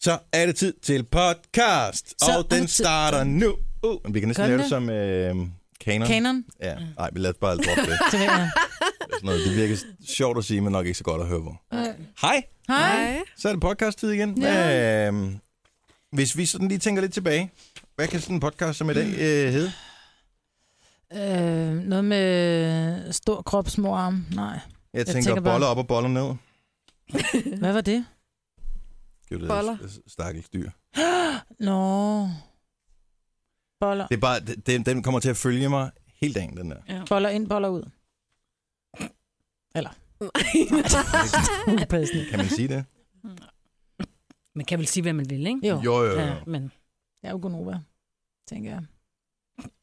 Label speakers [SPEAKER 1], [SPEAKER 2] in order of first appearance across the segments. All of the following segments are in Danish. [SPEAKER 1] Så er det tid til podcast,
[SPEAKER 2] Så
[SPEAKER 1] så og
[SPEAKER 2] er
[SPEAKER 1] den
[SPEAKER 2] det tid
[SPEAKER 1] starter nu. Uh, men vi kan næsten
[SPEAKER 2] Gør
[SPEAKER 1] lave
[SPEAKER 2] den
[SPEAKER 1] det som øh, kanon.
[SPEAKER 2] Kanon.
[SPEAKER 1] Ja, nej, vi lader bare droppe det.
[SPEAKER 2] Så vil jeg.
[SPEAKER 1] Sådan noget. Det virker sjovt at sige, men nok ikke så godt at høre på. Hej,
[SPEAKER 2] Hej.
[SPEAKER 1] så er det podcast-tid igen.
[SPEAKER 2] Ja.
[SPEAKER 1] Øh, hvis vi sådan lige tænker lidt tilbage, hvad kan sådan en podcast som i dag øh, hedde?
[SPEAKER 2] Øh, noget med stor krop, små arm. Nej.
[SPEAKER 1] Jeg tænker,
[SPEAKER 2] tænker bare-
[SPEAKER 1] boller op og boller ned.
[SPEAKER 2] Hvad var det?
[SPEAKER 1] Det er jo
[SPEAKER 3] Boller.
[SPEAKER 1] det der stakkels dyr.
[SPEAKER 2] Nå. Boller.
[SPEAKER 1] Det er bare, det- den, den kommer til at følge mig hele dagen, den der.
[SPEAKER 2] Boller ind, boller ud. Upassende.
[SPEAKER 1] Kan man sige det?
[SPEAKER 4] Man kan vel sige, hvad man vil, ikke?
[SPEAKER 2] Jo,
[SPEAKER 1] Jo, jo,
[SPEAKER 4] Ja,
[SPEAKER 1] jo.
[SPEAKER 4] men
[SPEAKER 2] jeg er jo Gunova, tænker jeg.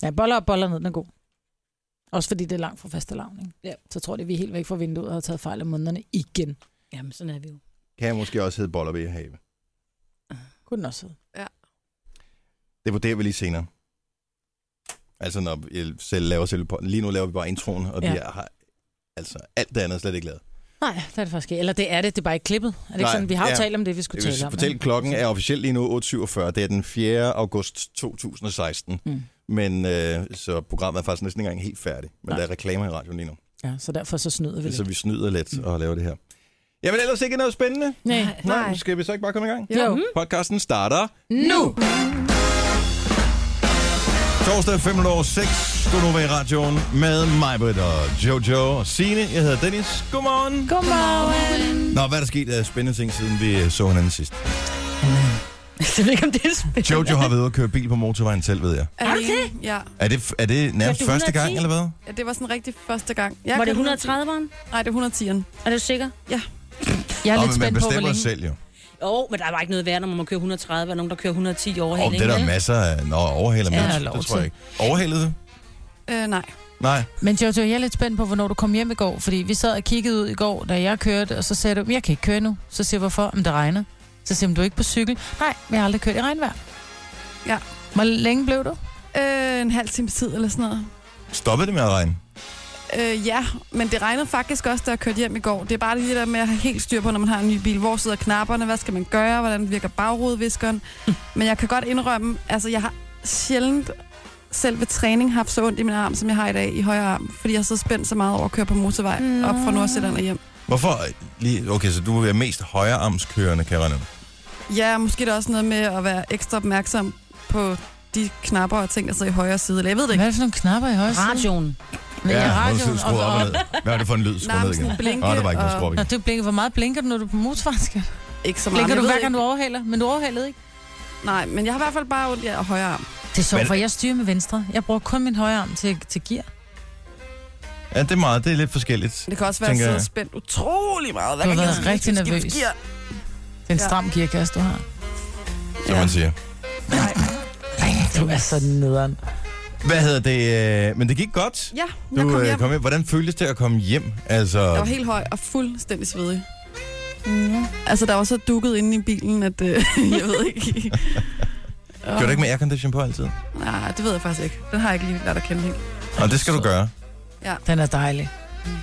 [SPEAKER 2] Ja, boller op, boller ned, den er god. Også fordi det er langt fra faste lavning.
[SPEAKER 4] Ja.
[SPEAKER 2] Så tror jeg, vi er helt væk fra vinduet og har taget fejl af månederne igen.
[SPEAKER 4] jamen, sådan er vi jo.
[SPEAKER 1] Kan jeg måske også hedde boller ved have.
[SPEAKER 2] Kunne den også hedde.
[SPEAKER 1] Det vurderer vi lige senere. Altså, når jeg selv laver selve pod- Lige nu laver vi bare introen, og ja.
[SPEAKER 2] Ja.
[SPEAKER 1] vi har altså alt det andet er slet ikke lavet.
[SPEAKER 2] Nej, det er det faktisk ikke. Eller det er det, det er bare ikke klippet. Er det ikke
[SPEAKER 1] Nej,
[SPEAKER 2] sådan, vi har jo
[SPEAKER 1] ja.
[SPEAKER 2] talt om det, vi skulle
[SPEAKER 1] Jeg vil
[SPEAKER 2] tale om.
[SPEAKER 1] fortælle,
[SPEAKER 2] ikke?
[SPEAKER 1] klokken er officielt lige nu 8.47. Det er den 4. august 2016.
[SPEAKER 2] Mm.
[SPEAKER 1] Men øh, så programmet er faktisk næsten ikke engang helt færdigt. Men
[SPEAKER 2] Nej.
[SPEAKER 1] der er reklamer i radioen lige nu.
[SPEAKER 2] Ja, så derfor så snyder vi
[SPEAKER 1] Så
[SPEAKER 2] lidt.
[SPEAKER 1] vi snyder lidt
[SPEAKER 2] Mm.
[SPEAKER 1] og laver det her. Jamen ellers ikke noget spændende.
[SPEAKER 2] Nej. Mm.
[SPEAKER 1] Nej. Skal vi så ikke bare komme i gang?
[SPEAKER 2] Jo.
[SPEAKER 1] Podcasten starter
[SPEAKER 2] Nu!
[SPEAKER 1] Torsdag 5 over 6, skal du være i radioen med mig, Britt og Jojo og Signe. Jeg hedder Dennis. Godmorgen.
[SPEAKER 2] Godmorgen!
[SPEAKER 1] Nå, hvad er der sket af spændende ting, siden vi så hinanden sidst?
[SPEAKER 4] Jeg ved ikke, om det er spændende.
[SPEAKER 1] Jojo har været ude at køre bil på motorvejen selv, ved jeg.
[SPEAKER 3] Er det? Øhm, Ja.
[SPEAKER 1] Er det, er det nærmest
[SPEAKER 4] Kørte du
[SPEAKER 1] første
[SPEAKER 4] 110?
[SPEAKER 1] gang, eller hvad?
[SPEAKER 3] ja, det var sådan rigtig første gang. Jeg
[SPEAKER 4] Var det
[SPEAKER 3] kan-
[SPEAKER 4] 130'eren?
[SPEAKER 3] Nej, det er 110'eren.
[SPEAKER 4] Er du sikker?
[SPEAKER 2] Jeg
[SPEAKER 1] Nå,
[SPEAKER 2] er lidt
[SPEAKER 1] men man
[SPEAKER 2] spændt på, hvor
[SPEAKER 1] bestemmer
[SPEAKER 2] længe.
[SPEAKER 1] selv jo.
[SPEAKER 4] Jo, oh, men der er bare ikke noget værd, når man kører 130, og nogen, der kører 110 over
[SPEAKER 1] Og det er der masser af... Nå, overhaler
[SPEAKER 2] Ja,
[SPEAKER 1] ja,
[SPEAKER 2] lov
[SPEAKER 1] det tror jeg
[SPEAKER 2] til.
[SPEAKER 1] ikke. Overhalede du?
[SPEAKER 3] Øh, nej.
[SPEAKER 1] Nej.
[SPEAKER 2] Men Jojo, jeg er lidt spændt på, hvornår du kom hjem i går. Fordi vi sad og kiggede ud i går, da jeg kørte, og så sagde du, "Men jeg kan ikke køre nu. Så siger jeg, hvorfor? Om det regner. Så siger jeg, "Men du er ikke på cykel. Nej, men jeg har aldrig kørt i regnvejr.
[SPEAKER 3] Ja.
[SPEAKER 2] Hvor længe blev du?
[SPEAKER 3] Øh, en halv times tid eller sådan noget.
[SPEAKER 1] Stoppede det med at regne?
[SPEAKER 3] Øh, ja, men det regnede faktisk også, da jeg kørte hjem i går. Det er bare det der med at have helt styr på, når man har en ny bil. Hvor sidder knapperne? Hvad skal man gøre? Hvordan virker bagrudeviskeren? Men jeg kan godt indrømme, altså jeg har sjældent selv ved træning haft så ondt i min arm, som jeg har i dag i højre arm. Fordi jeg er så spændt så meget over at køre på motorvej
[SPEAKER 2] Nå.
[SPEAKER 3] op fra Nordsjælland og hjem.
[SPEAKER 1] Hvorfor? øh, Lige, okay, så du er mest højrearmskørende, kan jeg regne ud.
[SPEAKER 3] Ja, måske er der også noget med at være ekstra opmærksom på de knapper og ting, der sidder i højre side. Eller jeg ved det ikke.
[SPEAKER 2] Hvad er det for nogle knapper i højre side?
[SPEAKER 4] Radioen.
[SPEAKER 2] Men ja, radioen.
[SPEAKER 1] skru
[SPEAKER 2] Og,
[SPEAKER 1] op og
[SPEAKER 2] og,
[SPEAKER 1] ned. Hvad var det for en lyd, skru
[SPEAKER 3] Nej,
[SPEAKER 1] ned
[SPEAKER 3] men
[SPEAKER 1] igen?
[SPEAKER 3] sådan blinke.
[SPEAKER 1] Nå, der var ikke noget
[SPEAKER 3] og-
[SPEAKER 1] skru
[SPEAKER 2] Nå, du blinker, hvor meget blinker du, når du er på motorvejen? skal?
[SPEAKER 3] Ikke så meget.
[SPEAKER 2] Blinker
[SPEAKER 3] men
[SPEAKER 2] du
[SPEAKER 3] jeg
[SPEAKER 2] hver
[SPEAKER 3] ved
[SPEAKER 2] gang, du overhaler? Men du overhalede ikke?
[SPEAKER 3] ikke- Nej, men jeg har i hvert fald bare ondt i ja, højre arm.
[SPEAKER 2] Det er så,
[SPEAKER 1] Men-
[SPEAKER 2] for jeg styrer med venstre. Jeg bruger kun min højre arm til, til gear.
[SPEAKER 1] Ja, det er meget. Det er lidt forskelligt.
[SPEAKER 3] Det kan også være, at
[SPEAKER 1] Tænker
[SPEAKER 3] jeg
[SPEAKER 1] jeg.
[SPEAKER 3] sidder spændt utrolig meget. Hver
[SPEAKER 2] Du har
[SPEAKER 3] gang jeg
[SPEAKER 2] været
[SPEAKER 3] sådan
[SPEAKER 2] rigtig
[SPEAKER 3] skal skifte
[SPEAKER 2] nervøs.
[SPEAKER 3] gear.
[SPEAKER 2] Det er en
[SPEAKER 3] Ja.
[SPEAKER 2] stram gearkasse, du har.
[SPEAKER 1] som
[SPEAKER 3] Ja.
[SPEAKER 1] man siger.
[SPEAKER 3] Nej.
[SPEAKER 2] Du er så nederen.
[SPEAKER 1] Hvad hedder det? øh, Men det gik godt.
[SPEAKER 3] Ja, jeg
[SPEAKER 1] Du
[SPEAKER 3] kom
[SPEAKER 1] øh,
[SPEAKER 3] hjem.
[SPEAKER 1] kom hjem. Hvordan føltes det at komme hjem? Altså,
[SPEAKER 3] Jeg var helt høj og fuldstændig svedig.
[SPEAKER 2] Mm.
[SPEAKER 3] Altså, der var så dukket inde i bilen, at øh, jeg ved ikke...
[SPEAKER 1] gjorde du ikke med aircondition på altid?
[SPEAKER 3] Nej, det ved jeg faktisk ikke. Den har jeg ikke lige lært at kende helt.
[SPEAKER 1] Og det skal du gøre.
[SPEAKER 2] Den er dejlig.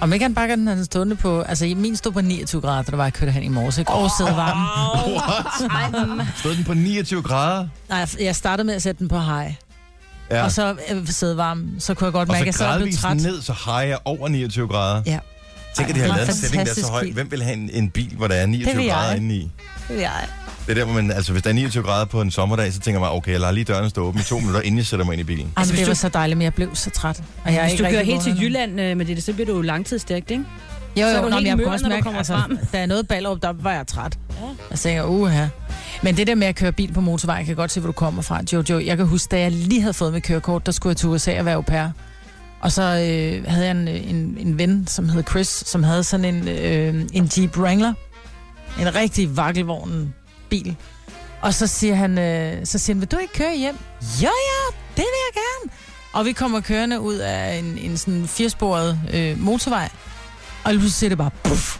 [SPEAKER 2] Om ikke han bakker den, han stående på... Altså, i- min stod på 29 grader, der var jeg kørte hen i morges. Ikke? Og sidde varmen.
[SPEAKER 1] What? Stod den på 29 grader?
[SPEAKER 2] Nej, jeg startede med at sætte den på high.
[SPEAKER 1] Ja.
[SPEAKER 2] Ja.
[SPEAKER 1] Og
[SPEAKER 2] Og
[SPEAKER 1] så,
[SPEAKER 2] så øh, sidde varmen. Så kunne jeg godt
[SPEAKER 1] og
[SPEAKER 2] mærke, at jeg
[SPEAKER 1] så
[SPEAKER 2] sad og blev
[SPEAKER 1] gradvist
[SPEAKER 2] træt.
[SPEAKER 1] ned, så har jeg over 29 grader.
[SPEAKER 2] Ja.
[SPEAKER 1] Tænk, at de
[SPEAKER 2] Ej,
[SPEAKER 1] har
[SPEAKER 2] det er
[SPEAKER 1] lavet en
[SPEAKER 2] en
[SPEAKER 1] sætning, der er så
[SPEAKER 2] fantastisk
[SPEAKER 1] høj.
[SPEAKER 2] bil.
[SPEAKER 1] Hvem vil have en, en bil, hvor der er 29
[SPEAKER 2] Det vil jeg.
[SPEAKER 1] grader inde i?
[SPEAKER 2] Ja.
[SPEAKER 1] Det er der, hvor man, altså hvis der er 29 grader på en sommerdag, så tænker man, okay, jeg lader lige døren stå åben i to minutter, inden jeg sætter mig ind i bilen.
[SPEAKER 2] Altså,
[SPEAKER 4] hvis
[SPEAKER 2] det
[SPEAKER 4] du-
[SPEAKER 2] var så dejligt, men jeg blev så træt. Og jeg er
[SPEAKER 4] Hvis
[SPEAKER 2] ikke
[SPEAKER 4] du kører
[SPEAKER 2] rigtig
[SPEAKER 4] helt til
[SPEAKER 2] vågen endnu.
[SPEAKER 4] Jylland øh, med det, så bliver du jo langtidsstærkt, ikke?
[SPEAKER 2] Jo, jo,
[SPEAKER 4] Så er
[SPEAKER 2] så
[SPEAKER 4] du
[SPEAKER 2] nå,
[SPEAKER 4] helt
[SPEAKER 2] men jeg
[SPEAKER 4] mør,
[SPEAKER 2] kunne også
[SPEAKER 4] når du
[SPEAKER 2] mærke,
[SPEAKER 4] kommer
[SPEAKER 2] altså,
[SPEAKER 4] frem.
[SPEAKER 2] da jeg nåede Ballerup, der var jeg træt. Ja. Jeg tænker, uha. Men det der med at køre bil på motorvej, jeg kan godt se, hvor du kommer fra, Jojo. Jeg kan huske, da jeg lige havde fået mit kørekort, der skulle jeg til USA og være au pair. Og så øh, havde jeg en, en, en ven, som hed Chris, som havde sådan en, øh, en Jeep Wrangler. En rigtig vakkelvognen bil. Og så siger, han, øh, så siger han, vil du ikke køre hjem? Jo, ja, det vil jeg gerne. Og vi kommer kørende ud af en, en sådan firesporet øh, motorvej. Og lige pludselig siger det bare puff.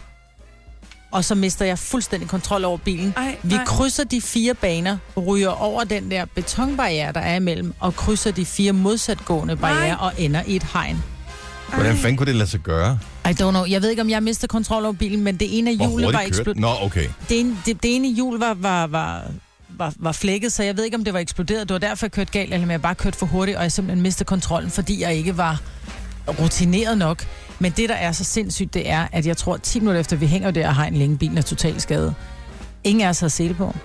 [SPEAKER 2] Og så mister jeg fuldstændig kontrol over bilen.
[SPEAKER 3] Ej,
[SPEAKER 2] Vi
[SPEAKER 3] nej.
[SPEAKER 2] krydser de fire baner, ryger over den der betonbarriere, der er imellem, og krydser de fire modsatgående barriere og ender i et hegn.
[SPEAKER 1] Hvordan fanden kunne det lade sig gøre?
[SPEAKER 2] I don't know. Jeg ved ikke, om jeg mistede kontrol over bilen, men det ene af
[SPEAKER 1] Hvor
[SPEAKER 2] hjulet var
[SPEAKER 1] hurtigt kørte
[SPEAKER 2] eksploderet.
[SPEAKER 1] den? Nå, okay.
[SPEAKER 2] Det, ene- det, det ene hjul var, var, var var, var flækket, så jeg ved ikke, om det var eksploderet. Det var derfor, jeg kørte galt, eller om jeg bare kørte for hurtigt, og jeg simpelthen mistede kontrollen, fordi jeg ikke var rutineret nok. Men det, der er så sindssygt, det er, at jeg tror, 10 minutter efter, vi hænger der og har en længe bilen er totalt skadet. Ingen af os havde sele på.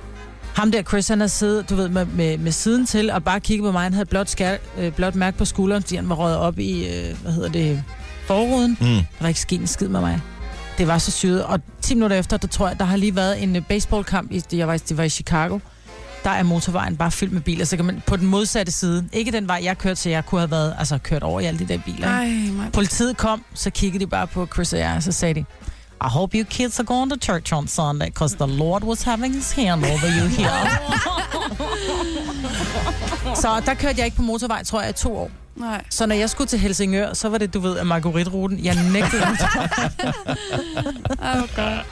[SPEAKER 2] Ham der, Chris, han har siddet, du ved, med, med, med siden til og bare kigget på mig. Han havde blot, skær, øh, blot mærke på skulderen, fordi han var røget op i, øh, hvad hedder det, forruden.
[SPEAKER 1] Mm.
[SPEAKER 2] Der var ikke sket en skid med mig. Det var så syret. Og 10 minutter efter, der tror jeg, der har lige været en øh, baseballkamp. I, jeg var, i- det var i Chicago. Der er motorvejen bare fyldt med biler. Så kan man på den modsatte side. Ikke den vej, jeg kørte, så jeg kunne have været, altså, kørt over i alle de der biler. ikke?
[SPEAKER 3] Ej, mig.
[SPEAKER 2] Politiet kom, så kiggede de bare på Chris og jeg, og så sagde de, I hope you kids are going to church on Sunday, because the Lord was having his hand over you here. så der kørte jeg ikke på motorvej, tror jeg, i to år.
[SPEAKER 3] Nej.
[SPEAKER 2] Så når jeg skulle til Helsingør, så var det, du ved, af Marguerite-ruten. Jeg nægtede
[SPEAKER 3] Ej, hvor godt.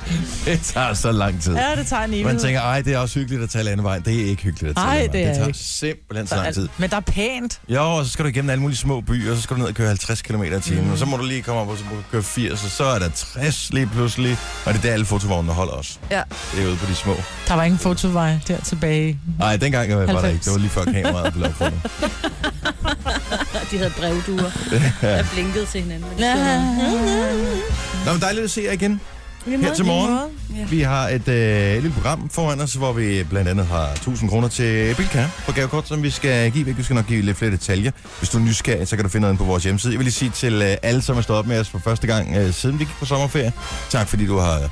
[SPEAKER 1] Det tager så lang tid.
[SPEAKER 2] Ja, det tager en
[SPEAKER 1] Man tænker, ej, det er også hyggeligt at tage landevejen. Det er ikke hyggeligt at tage
[SPEAKER 2] Ej, det
[SPEAKER 1] landevejen.
[SPEAKER 2] er
[SPEAKER 1] Det tager
[SPEAKER 2] ikke.
[SPEAKER 1] simpelthen så lang tid.
[SPEAKER 2] Men der er pænt.
[SPEAKER 1] Jo, og så skal du igennem alle mulige små byer, og så skal du ned og køre 50 km i timen, mm. og så må du lige komme op, og så må du køre 80, og så er der 60 lige pludselig, og det er der, alle fotovognene holder os.
[SPEAKER 3] Ja.
[SPEAKER 1] Det er ude på de små.
[SPEAKER 2] Der var ingen fotovej der tilbage.
[SPEAKER 1] Nej, dengang var der
[SPEAKER 2] 90.
[SPEAKER 1] ikke. Det var lige før kameraet blev opfundet.
[SPEAKER 4] De havde brevduer, der blinkede til hinanden. når de stod
[SPEAKER 1] Nå, men dejligt at se jer igen. Her til morgen.
[SPEAKER 3] Ja.
[SPEAKER 1] Vi har et øh, lille program foran os, hvor vi blandt andet har 1000 kroner til Bilka på gavekort, som vi skal give væk. Vi skal nok give lidt flere detaljer. Hvis du er nysgerrig, så kan du finde den på vores hjemmeside. Jeg vil lige sige til øh, alle, som er stået op med os for første gang, øh, siden vi gik på sommerferie. Tak fordi du har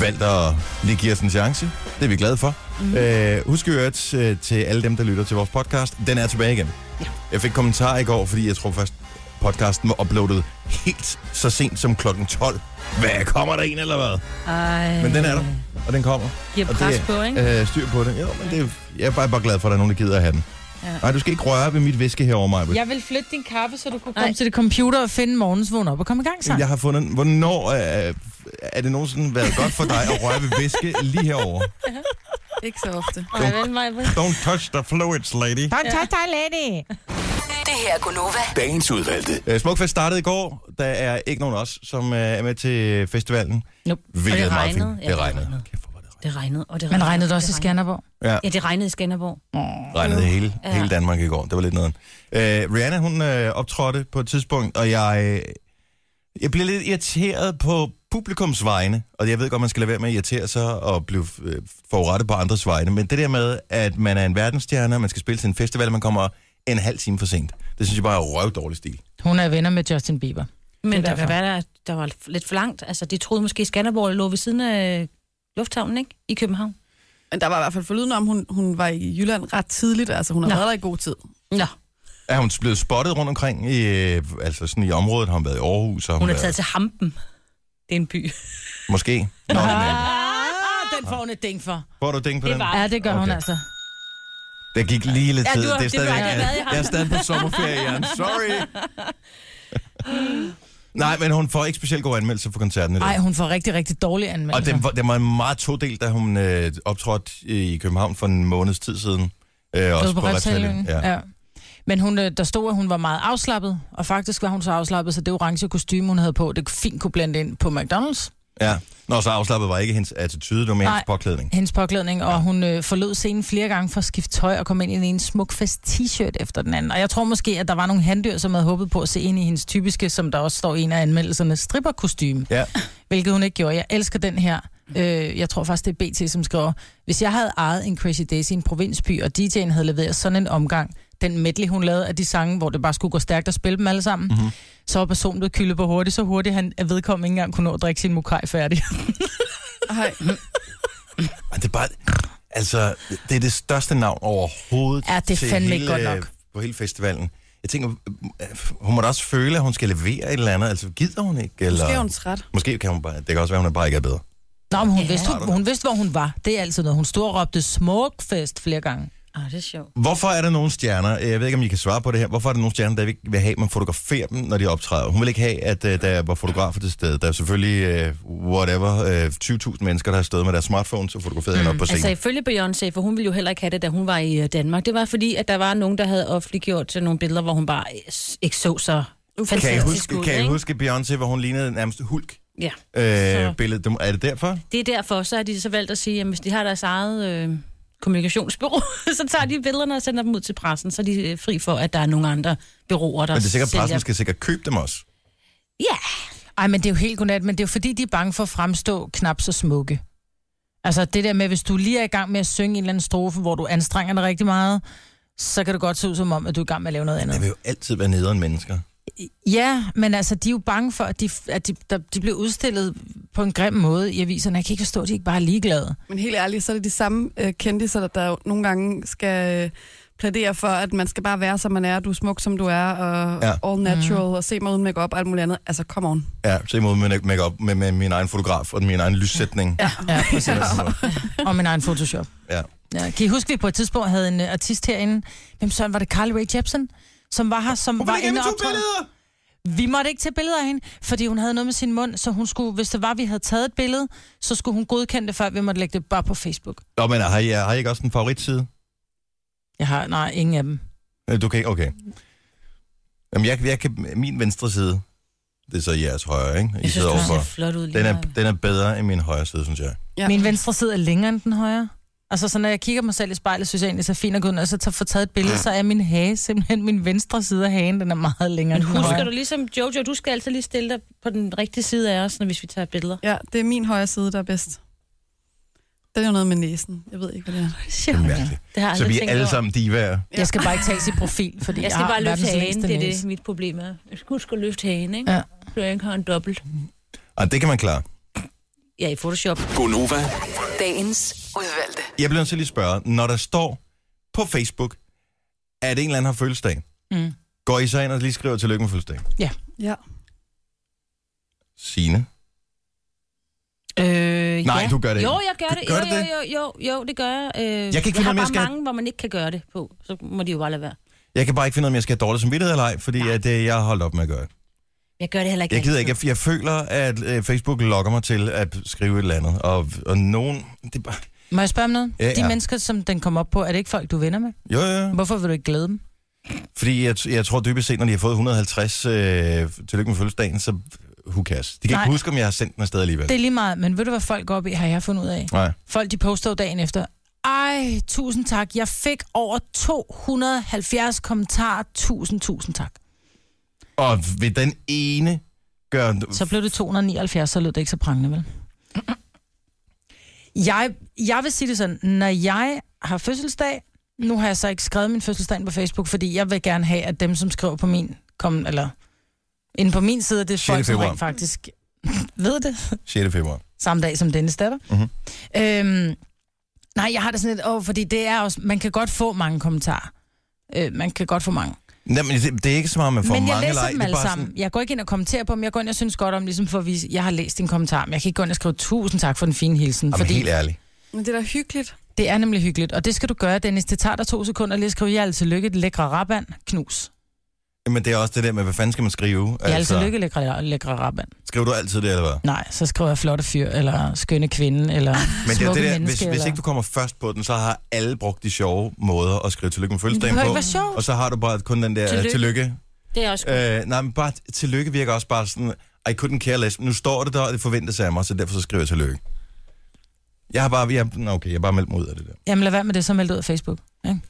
[SPEAKER 1] valgt at lige give os en chance. Det er vi glade for. Mm. Øh, husk i øvrigt øh, til alle dem, der lytter til vores podcast. Den er tilbage igen.
[SPEAKER 4] Ja.
[SPEAKER 1] Jeg fik kommentar i går, fordi jeg tror først, podcasten var uploadet helt så sent som klokken 12. Hvad, kommer der en eller hvad?
[SPEAKER 4] Ej.
[SPEAKER 1] Men den er der. Og den kommer.
[SPEAKER 4] Giver
[SPEAKER 1] Og det
[SPEAKER 4] pres
[SPEAKER 1] er-
[SPEAKER 4] på, ikke?
[SPEAKER 1] Øh, styr på det. Jo, men det, jeg er bare, bare glad for, at der er nogen, der gider at have den.
[SPEAKER 2] Ja.
[SPEAKER 1] Ja. Nej, du skal ikke røre ved mit væske herovre, mig.
[SPEAKER 2] Jeg vil flytte din kaffe, så du kunne
[SPEAKER 4] komme
[SPEAKER 2] komme Ej. til det computer og finde morgens vågen op og komme i gang sammen.
[SPEAKER 1] Jeg har fundet den. Hvornår øh, er det nogensinde været godt for dig at røre ved væske lige herovre?
[SPEAKER 3] Ikke så ofte.
[SPEAKER 4] Ej, vel, Maja?
[SPEAKER 1] Don't touch the fluids, lady.
[SPEAKER 2] Don't touch our lady.
[SPEAKER 5] Det her er Gunova.
[SPEAKER 6] Dagens udvalgte.
[SPEAKER 1] Øh, Smukfest startede i går. Der er ikke nogen af os, som øh, er med til festivalen.
[SPEAKER 4] Nope.
[SPEAKER 1] Hvilket er meget
[SPEAKER 4] regnede.
[SPEAKER 1] fint.
[SPEAKER 4] Ja,
[SPEAKER 1] Det
[SPEAKER 4] det
[SPEAKER 1] regnede.
[SPEAKER 4] regnede.
[SPEAKER 1] Kæft, hvor var det
[SPEAKER 4] Det regnede, og det
[SPEAKER 2] Men regnede det også i
[SPEAKER 4] det regnede.
[SPEAKER 2] Skanderborg?
[SPEAKER 1] regnede.
[SPEAKER 4] Ja, det regnede i Skanderborg.
[SPEAKER 1] regnede hele,
[SPEAKER 4] Ja.
[SPEAKER 1] hele Danmark i går. Det var lidt noget. Øh, Rihanna, hun øh, optrådte på et tidspunkt, og jeg, øh, jeg blev lidt irriteret på publikums vegne. Og jeg ved godt, man skal lade være med at irritere sig og blive øh, forurettet på andres vegne. Men det der med, at man er en verdensstjerne, og man skal spille til en festival, og man kommer en halv time for sent. Det synes jeg bare er røvdårlig stil.
[SPEAKER 2] Hun er venner med Justin Bieber.
[SPEAKER 4] Men
[SPEAKER 2] Det er
[SPEAKER 4] der kan
[SPEAKER 2] derfor.
[SPEAKER 4] være, der, der var lidt for langt. Altså, de troede måske, Skanderborg lå ved siden af øh, lufthavnen, ikke? I København.
[SPEAKER 3] Men der var i hvert fald forlyden om, hun, hun var i Jylland ret tidligt. Altså, hun har
[SPEAKER 4] Nå.
[SPEAKER 3] været der i god tid.
[SPEAKER 4] Nå,
[SPEAKER 1] Er hun blevet spottet rundt omkring i, øh, altså sådan i området? Har hun været i Aarhus? og Har hun,
[SPEAKER 4] hun er
[SPEAKER 1] været,
[SPEAKER 4] taget til Hampen. Det er en by.
[SPEAKER 1] Måske. Nå, men,
[SPEAKER 2] Ah, den får hun et ding for.
[SPEAKER 1] får du ding på den?
[SPEAKER 2] Ja, det gør okay. hun
[SPEAKER 1] Okay.
[SPEAKER 2] altså.
[SPEAKER 1] Der gik lige lidt
[SPEAKER 4] Ja,
[SPEAKER 1] tid.
[SPEAKER 4] du har-
[SPEAKER 1] det er
[SPEAKER 4] det
[SPEAKER 1] stadigvæk,
[SPEAKER 4] har
[SPEAKER 1] jeg,
[SPEAKER 4] været i
[SPEAKER 1] jeg er stadig på sommerferie, Jan. Sorry. Nej, men hun får ikke specielt gode anmeldelser for koncerten i dag.
[SPEAKER 2] Nej, hun får rigtig, rigtig dårlige
[SPEAKER 1] Og
[SPEAKER 2] anmeldelser.
[SPEAKER 1] den, var- den var en meget to del, da hun øh, optrådte i København for en måneds tid siden. Øh,
[SPEAKER 2] Stod
[SPEAKER 1] også på,
[SPEAKER 2] på
[SPEAKER 1] på
[SPEAKER 2] Refshaløen.
[SPEAKER 1] Ja.
[SPEAKER 2] ja. Men hun, øh, der stod, at hun var meget afslappet, og faktisk var hun så afslappet, så det orange kostume, hun havde på, det fint kunne blande ind på McDonald's,
[SPEAKER 1] ja. Nå, så afslappet var ikke hendes attitude, det var mere
[SPEAKER 2] Nej.
[SPEAKER 1] hendes påklædning.
[SPEAKER 2] hendes påklædning, og hun øh, forlod scenen flere gange for at skifte tøj og komme ind i den ene smuk fest t-shirt efter den anden. Og jeg tror måske, at der var nogle handdyr, som havde håbet på at se ind i hendes typiske, som der også står i en af anmeldelserne, stripperkostume.
[SPEAKER 1] Ja.
[SPEAKER 2] hvilket hun ikke gjorde. Jeg elsker den her. Øh, jeg tror faktisk, det er BT, som skriver, hvis jeg havde ejet en Crazy Daisy i en provinsby, og DJ'en havde leveret sådan en omgang, den medley, hun lavede af de sange, hvor det bare skulle gå stærkt og spille dem alle sammen,
[SPEAKER 1] Mhm.
[SPEAKER 2] mm-hmm. så var personen blevet kyldet på hurtigt, så hurtigt, han at vedkommende ikke engang kunne nå at drikke sin mokai færdig.
[SPEAKER 3] Ej.
[SPEAKER 1] Men det er bare... Altså, det er det største navn overhovedet
[SPEAKER 2] Ja, det er
[SPEAKER 1] til
[SPEAKER 2] fandme
[SPEAKER 1] hele,
[SPEAKER 2] ikke godt nok.
[SPEAKER 1] på hele festivalen. Jeg tænker, øh, hun må da også føle, at hun skal levere et eller andet. Altså, gider hun ikke? Eller...
[SPEAKER 3] Måske er hun træt.
[SPEAKER 1] Måske kan hun bare... Det kan også være, hun bare ikke er bedre.
[SPEAKER 2] Nå, men hun,
[SPEAKER 4] Ja.
[SPEAKER 2] ja. vidste, hun, hun vidste, hvor hun var. Det er altid noget. Hun stod og råbte smukfest flere gange.
[SPEAKER 4] Åh, Ah, det er sjovt.
[SPEAKER 1] Hvorfor er der nogle stjerner, jeg ved ikke, om I kan svare på det her, hvorfor er der nogle stjerner, der ikke vil have, at man fotograferer dem, når de optræder? Hun vil ikke have, at øh, der var fotografer til stede. Der er selvfølgelig, uh, whatever, uh, 20.000 mennesker, der har stået med deres smartphones og fotograferet mm. hende op på scenen.
[SPEAKER 4] Altså ifølge Beyoncé, for hun ville jo heller ikke have det, da hun var i øh, Danmark. Det var fordi, at der var nogen, der havde offentliggjort øh, nogle billeder, hvor hun bare øh, s- ikke så så fantastisk
[SPEAKER 1] kan I huske,
[SPEAKER 4] ud.
[SPEAKER 1] kan I
[SPEAKER 4] ikke?
[SPEAKER 1] huske Beyoncé, hvor hun lignede nærmest hulk?
[SPEAKER 4] Ja.
[SPEAKER 1] Øh, billedet. Dem- Er det derfor?
[SPEAKER 4] Det er derfor, så har de så valgt at sige, at hvis de har deres eget øh, kommunikationsbyrå, så tager de billederne og sender dem ud til pressen, så er de øh, fri for, at der er nogle andre byråer, der
[SPEAKER 1] Men det er sikkert, at
[SPEAKER 4] sælger-
[SPEAKER 1] pressen skal sikkert købe dem også.
[SPEAKER 4] Ja,
[SPEAKER 2] Ej, men det er jo helt godnat, men det er jo fordi, de er bange for at fremstå knap så smukke. Altså det der med, hvis du lige er i gang med at synge en eller anden strofe, hvor du anstrenger dig rigtig meget, så kan det godt se ud som om, at du er i gang med at lave noget
[SPEAKER 1] Der
[SPEAKER 2] andet.
[SPEAKER 1] vil jo altid være nederen mennesker.
[SPEAKER 2] Ja, men altså, de er jo bange for, at de, at de, der, de bliver udstillet på en grim måde i aviserne. Jeg kan ikke forstå, at de ikke bare er ligeglade.
[SPEAKER 3] Men helt ærligt, så er det de samme øh, kendtiser, der, der jo nogle gange skal øh, plædere for, at man skal bare være, som man er, du er smuk, som du er, og
[SPEAKER 1] Ja.
[SPEAKER 3] ja. all natural, mm. og se mig uden makeup og alt muligt andet. Altså, come on.
[SPEAKER 1] Ja, så imod med make op med, med, min egen fotograf og min egen lyssætning. Ja.
[SPEAKER 2] Ja, præcis. Og min egen Photoshop.
[SPEAKER 1] ja.
[SPEAKER 2] Ja, kan I huske, at vi på et tidspunkt havde en øh, artist herinde? Hvem søren var det? Carly Rae Jepsen? Som var her, som
[SPEAKER 1] Hvorfor
[SPEAKER 2] var
[SPEAKER 1] ikke
[SPEAKER 2] inde
[SPEAKER 1] med
[SPEAKER 2] og
[SPEAKER 1] to
[SPEAKER 2] optræde.
[SPEAKER 1] billeder?
[SPEAKER 2] Vi måtte ikke tage billeder af hende, fordi hun havde noget med sin mund, så hun skulle, hvis det var, vi havde taget et billede, så skulle hun godkende det, før vi måtte lægge det bare på Facebook.
[SPEAKER 1] Nå, men har I, har I ikke også en favoritside?
[SPEAKER 2] Jeg har, nej, ingen af dem.
[SPEAKER 1] Øh, Du kan ikke, okay. Jamen, jeg, jeg kan, min venstre side, det er så jeres højre, ikke? I
[SPEAKER 4] jeg synes,
[SPEAKER 1] sidder
[SPEAKER 4] det ser
[SPEAKER 1] overfor.
[SPEAKER 4] flot ud lige
[SPEAKER 1] Den er,
[SPEAKER 4] her.
[SPEAKER 1] den er bedre end min højre side, synes jeg.
[SPEAKER 3] Ja.
[SPEAKER 2] Min venstre side er længere end den højre. Altså, så når jeg kigger mig selv i spejlet, synes jeg egentlig, så fint at gå ud, og så tager, få taget et billede, så er min hage simpelthen, min venstre side af hagen, den er meget længere
[SPEAKER 4] Men
[SPEAKER 2] end den højre.
[SPEAKER 4] husker du ligesom, Jojo, du skal altid lige stille dig på den rigtige side af os, når hvis vi tager billeder.
[SPEAKER 3] ja, det er min højre side, der er bedst. Det er jo noget med næsen. Jeg ved ikke, hvad det er.
[SPEAKER 1] Det er mærkeligt.
[SPEAKER 4] Det har jeg
[SPEAKER 1] Så
[SPEAKER 4] aldrig
[SPEAKER 1] vi er
[SPEAKER 4] tænkt
[SPEAKER 1] alle
[SPEAKER 4] over.
[SPEAKER 1] sammen divaer.
[SPEAKER 2] Jeg skal bare ikke tages i profil, fordi
[SPEAKER 4] Jeg skal bare løfte
[SPEAKER 2] verdens
[SPEAKER 4] hagen,
[SPEAKER 2] længste
[SPEAKER 4] det er det,
[SPEAKER 2] næse.
[SPEAKER 4] mit problem er. Jeg skulle huske at løfte hagen, ikke?
[SPEAKER 2] Ja.
[SPEAKER 4] Så jeg ikke har en dobbelt.
[SPEAKER 1] Og det kan man klare.
[SPEAKER 4] Ja, i Photoshop. Øh,
[SPEAKER 6] Gonova,
[SPEAKER 5] Dagens udvalgte.
[SPEAKER 1] Jeg bliver nødt til lige at spørge, når der står på Facebook, at en eller anden har fødselsdag,
[SPEAKER 2] Mm.
[SPEAKER 1] går I så ind og lige skriver tillykke med fødselsdag?
[SPEAKER 3] Ja.
[SPEAKER 1] Signe?
[SPEAKER 4] Øh,
[SPEAKER 1] Nej,
[SPEAKER 4] ja.
[SPEAKER 1] du gør det
[SPEAKER 4] Jo,
[SPEAKER 1] ikke.
[SPEAKER 4] jeg gør
[SPEAKER 1] Gør-
[SPEAKER 4] det.
[SPEAKER 1] gør
[SPEAKER 4] jo,
[SPEAKER 1] du
[SPEAKER 4] jo,
[SPEAKER 1] det?
[SPEAKER 4] jo, jo, jo, det gør jeg. Øh, jeg
[SPEAKER 1] kan ikke finde ud af,
[SPEAKER 4] har
[SPEAKER 1] om jeg
[SPEAKER 4] bare
[SPEAKER 1] skal-
[SPEAKER 4] mange, hvor man ikke kan gøre det på. Så må de jo bare lade være.
[SPEAKER 1] Jeg kan bare ikke finde ud af, om jeg skal have dårlig samvittighed eller ej, fordi at, øh, jeg har holdt op med at gøre det.
[SPEAKER 4] Jeg gør det heller ikke.
[SPEAKER 1] Jeg gider
[SPEAKER 4] altid.
[SPEAKER 1] ikke. Jeg, jeg føler, at øh, Facebook lokker mig til at skrive et eller andet. Og, og nogen... Det er bare...
[SPEAKER 2] Må jeg spørge om noget?
[SPEAKER 1] Ja, Mm.
[SPEAKER 2] Ja,
[SPEAKER 1] ja.
[SPEAKER 2] De mennesker, som den kom op på, er det ikke folk, du venner med?
[SPEAKER 1] Jo, jo, jo.
[SPEAKER 2] Hvorfor vil du ikke glæde dem?
[SPEAKER 1] Fordi jeg, jeg tror dybest set, når de har fået 150 øh, tillykke med fødselsdagen, så who cares? De kan Nej.
[SPEAKER 2] Nej.
[SPEAKER 1] ikke huske, om jeg har sendt den afsted alligevel.
[SPEAKER 2] Det
[SPEAKER 1] Det...
[SPEAKER 2] er lige meget, men ved du, hvad folk går op i, har jeg fundet ud af?
[SPEAKER 1] Nej.
[SPEAKER 2] Folk, de poster jo dagen efter. Ej, tusind tak. Jeg fik over 270 kommentarer. Tusind, tusind tak.
[SPEAKER 1] Og ved den ene gør...
[SPEAKER 2] Så blev det 279, så lød det ikke så prangende, vel? Jeg, jeg vil sige det sådan, når jeg har fødselsdag, nu har jeg så ikke skrevet min fødselsdag ind på Facebook, fordi jeg vil gerne have, at dem, som skriver på min, kom, eller inde på min side, det er
[SPEAKER 1] Sjette
[SPEAKER 2] folk, som
[SPEAKER 1] februar.
[SPEAKER 2] rent faktisk ved det.
[SPEAKER 1] 6. februar.
[SPEAKER 2] samme dag som Dennis datter.
[SPEAKER 1] Mhm.
[SPEAKER 2] Mm-hmm. Øhm, nej, jeg har det sådan lidt, åh, fordi det er også, man kan godt få mange kommentarer. Øh, man kan godt få mange.
[SPEAKER 1] Nej, men det, det er ikke så meget, man får
[SPEAKER 2] men jeg
[SPEAKER 1] mange
[SPEAKER 2] læser
[SPEAKER 1] ej.
[SPEAKER 2] dem
[SPEAKER 1] Det er
[SPEAKER 2] alle
[SPEAKER 1] bare
[SPEAKER 2] sammen. Sådan... Jeg går ikke ind og kommenterer på dem. Jeg går ind og synes godt om, ligesom for at vise, jeg har læst din kommentar, men jeg kan ikke gå ind og skrive tusind tak for den fine hilsen.
[SPEAKER 1] Jamen,
[SPEAKER 2] fordi
[SPEAKER 1] fordi... helt ærligt.
[SPEAKER 3] Men det er da hyggeligt.
[SPEAKER 2] det er nemlig hyggeligt, og det skal du gøre, Dennis. Det tager dig to sekunder lige at skrive, jeg er altså lykke, det lækre raband, knus.
[SPEAKER 1] Men det er også det der med, hvad fanden skal man skrive?
[SPEAKER 2] Jeg er altså lykke, lækre, lækre raband.
[SPEAKER 1] Skriver du altid det, eller hvad?
[SPEAKER 2] Nej, så skriver jeg flotte fyr, eller skønne kvinde, eller
[SPEAKER 1] Men det er jo
[SPEAKER 2] smukke
[SPEAKER 1] det der,
[SPEAKER 2] menneske.
[SPEAKER 1] hvis, hvis
[SPEAKER 2] eller...
[SPEAKER 1] ikke du kommer først på den, så har alle brugt de sjove måder at skrive tillykke med
[SPEAKER 2] Men det
[SPEAKER 1] fødselsdagen
[SPEAKER 2] behøver ikke
[SPEAKER 1] på.
[SPEAKER 2] være sjovt.
[SPEAKER 1] Og så har du bare kun den der tillykke.
[SPEAKER 4] Tillykke.
[SPEAKER 1] tillykke.
[SPEAKER 4] Det er også godt.
[SPEAKER 1] Øh, nej, men bare tillykke virker også bare sådan, I couldn't care less. Nu står det der, og det forventes af mig, så derfor så skriver jeg tillykke. Jeg har bare, jeg, nå, okay, jeg har bare meldt mig ud af det der.
[SPEAKER 2] Jamen lad være med det, så meld det ud af Facebook. Ikke?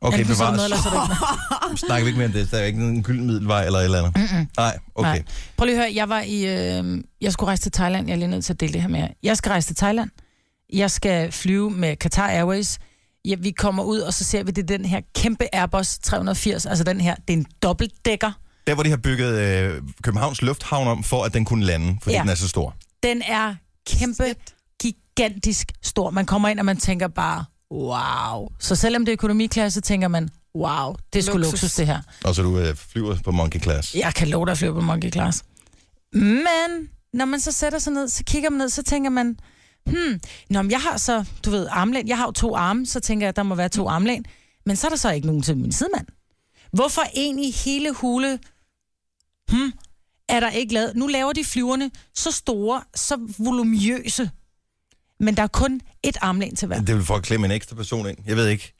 [SPEAKER 1] Okay,
[SPEAKER 2] Enten så er du med,
[SPEAKER 1] bevares.
[SPEAKER 2] eller så er du ikke med.
[SPEAKER 1] Snakker vi ikke mere om det. Der er ikke en gylden middelvej eller et eller andet.
[SPEAKER 2] Mm-mm.
[SPEAKER 1] Nej, okay.
[SPEAKER 2] Nej. Prøv lige at høre, jeg var i, øh, jeg skulle rejse til Thailand, jeg er lige nødt til at dele det her med jer. Jeg skal rejse til Thailand, jeg skal flyve med Qatar Airways, ja, vi kommer ud, og så ser vi, det er den her kæmpe Airbus 380, altså den her, det er en dobbeltdækker.
[SPEAKER 1] Der, hvor de har bygget øh, Københavns Lufthavn om, for at den kunne lande, fordi ja.
[SPEAKER 2] Ja.
[SPEAKER 1] den er så stor.
[SPEAKER 2] Den er kæmpe, gigantisk stor. Man kommer ind, og man tænker bare, wow. Så selvom det er økonomiklasse, tænker man, wow, det er sgu
[SPEAKER 3] Luksus.
[SPEAKER 2] luksus, det her.
[SPEAKER 1] Og så du øh, flyver på monkey class.
[SPEAKER 2] Jeg kan love dig at flyve på monkey class. Men når man så sætter sig ned, så kigger man ned, så tænker man, hmm, nå, men jeg har så, du ved, armlæn. Jeg har jo to arme, så tænker jeg, at der må være
[SPEAKER 1] Mm.
[SPEAKER 2] to armlæn. Men så er der så ikke nogen til min sidemand. Hvorfor egentlig hele hule, hmm, er der ikke lavet? Nu laver de flyverne så store, så volumøse. Men der er kun et armlæn til hver.
[SPEAKER 1] Det vil for at klemme en ekstra person ind. Jeg ved ikke.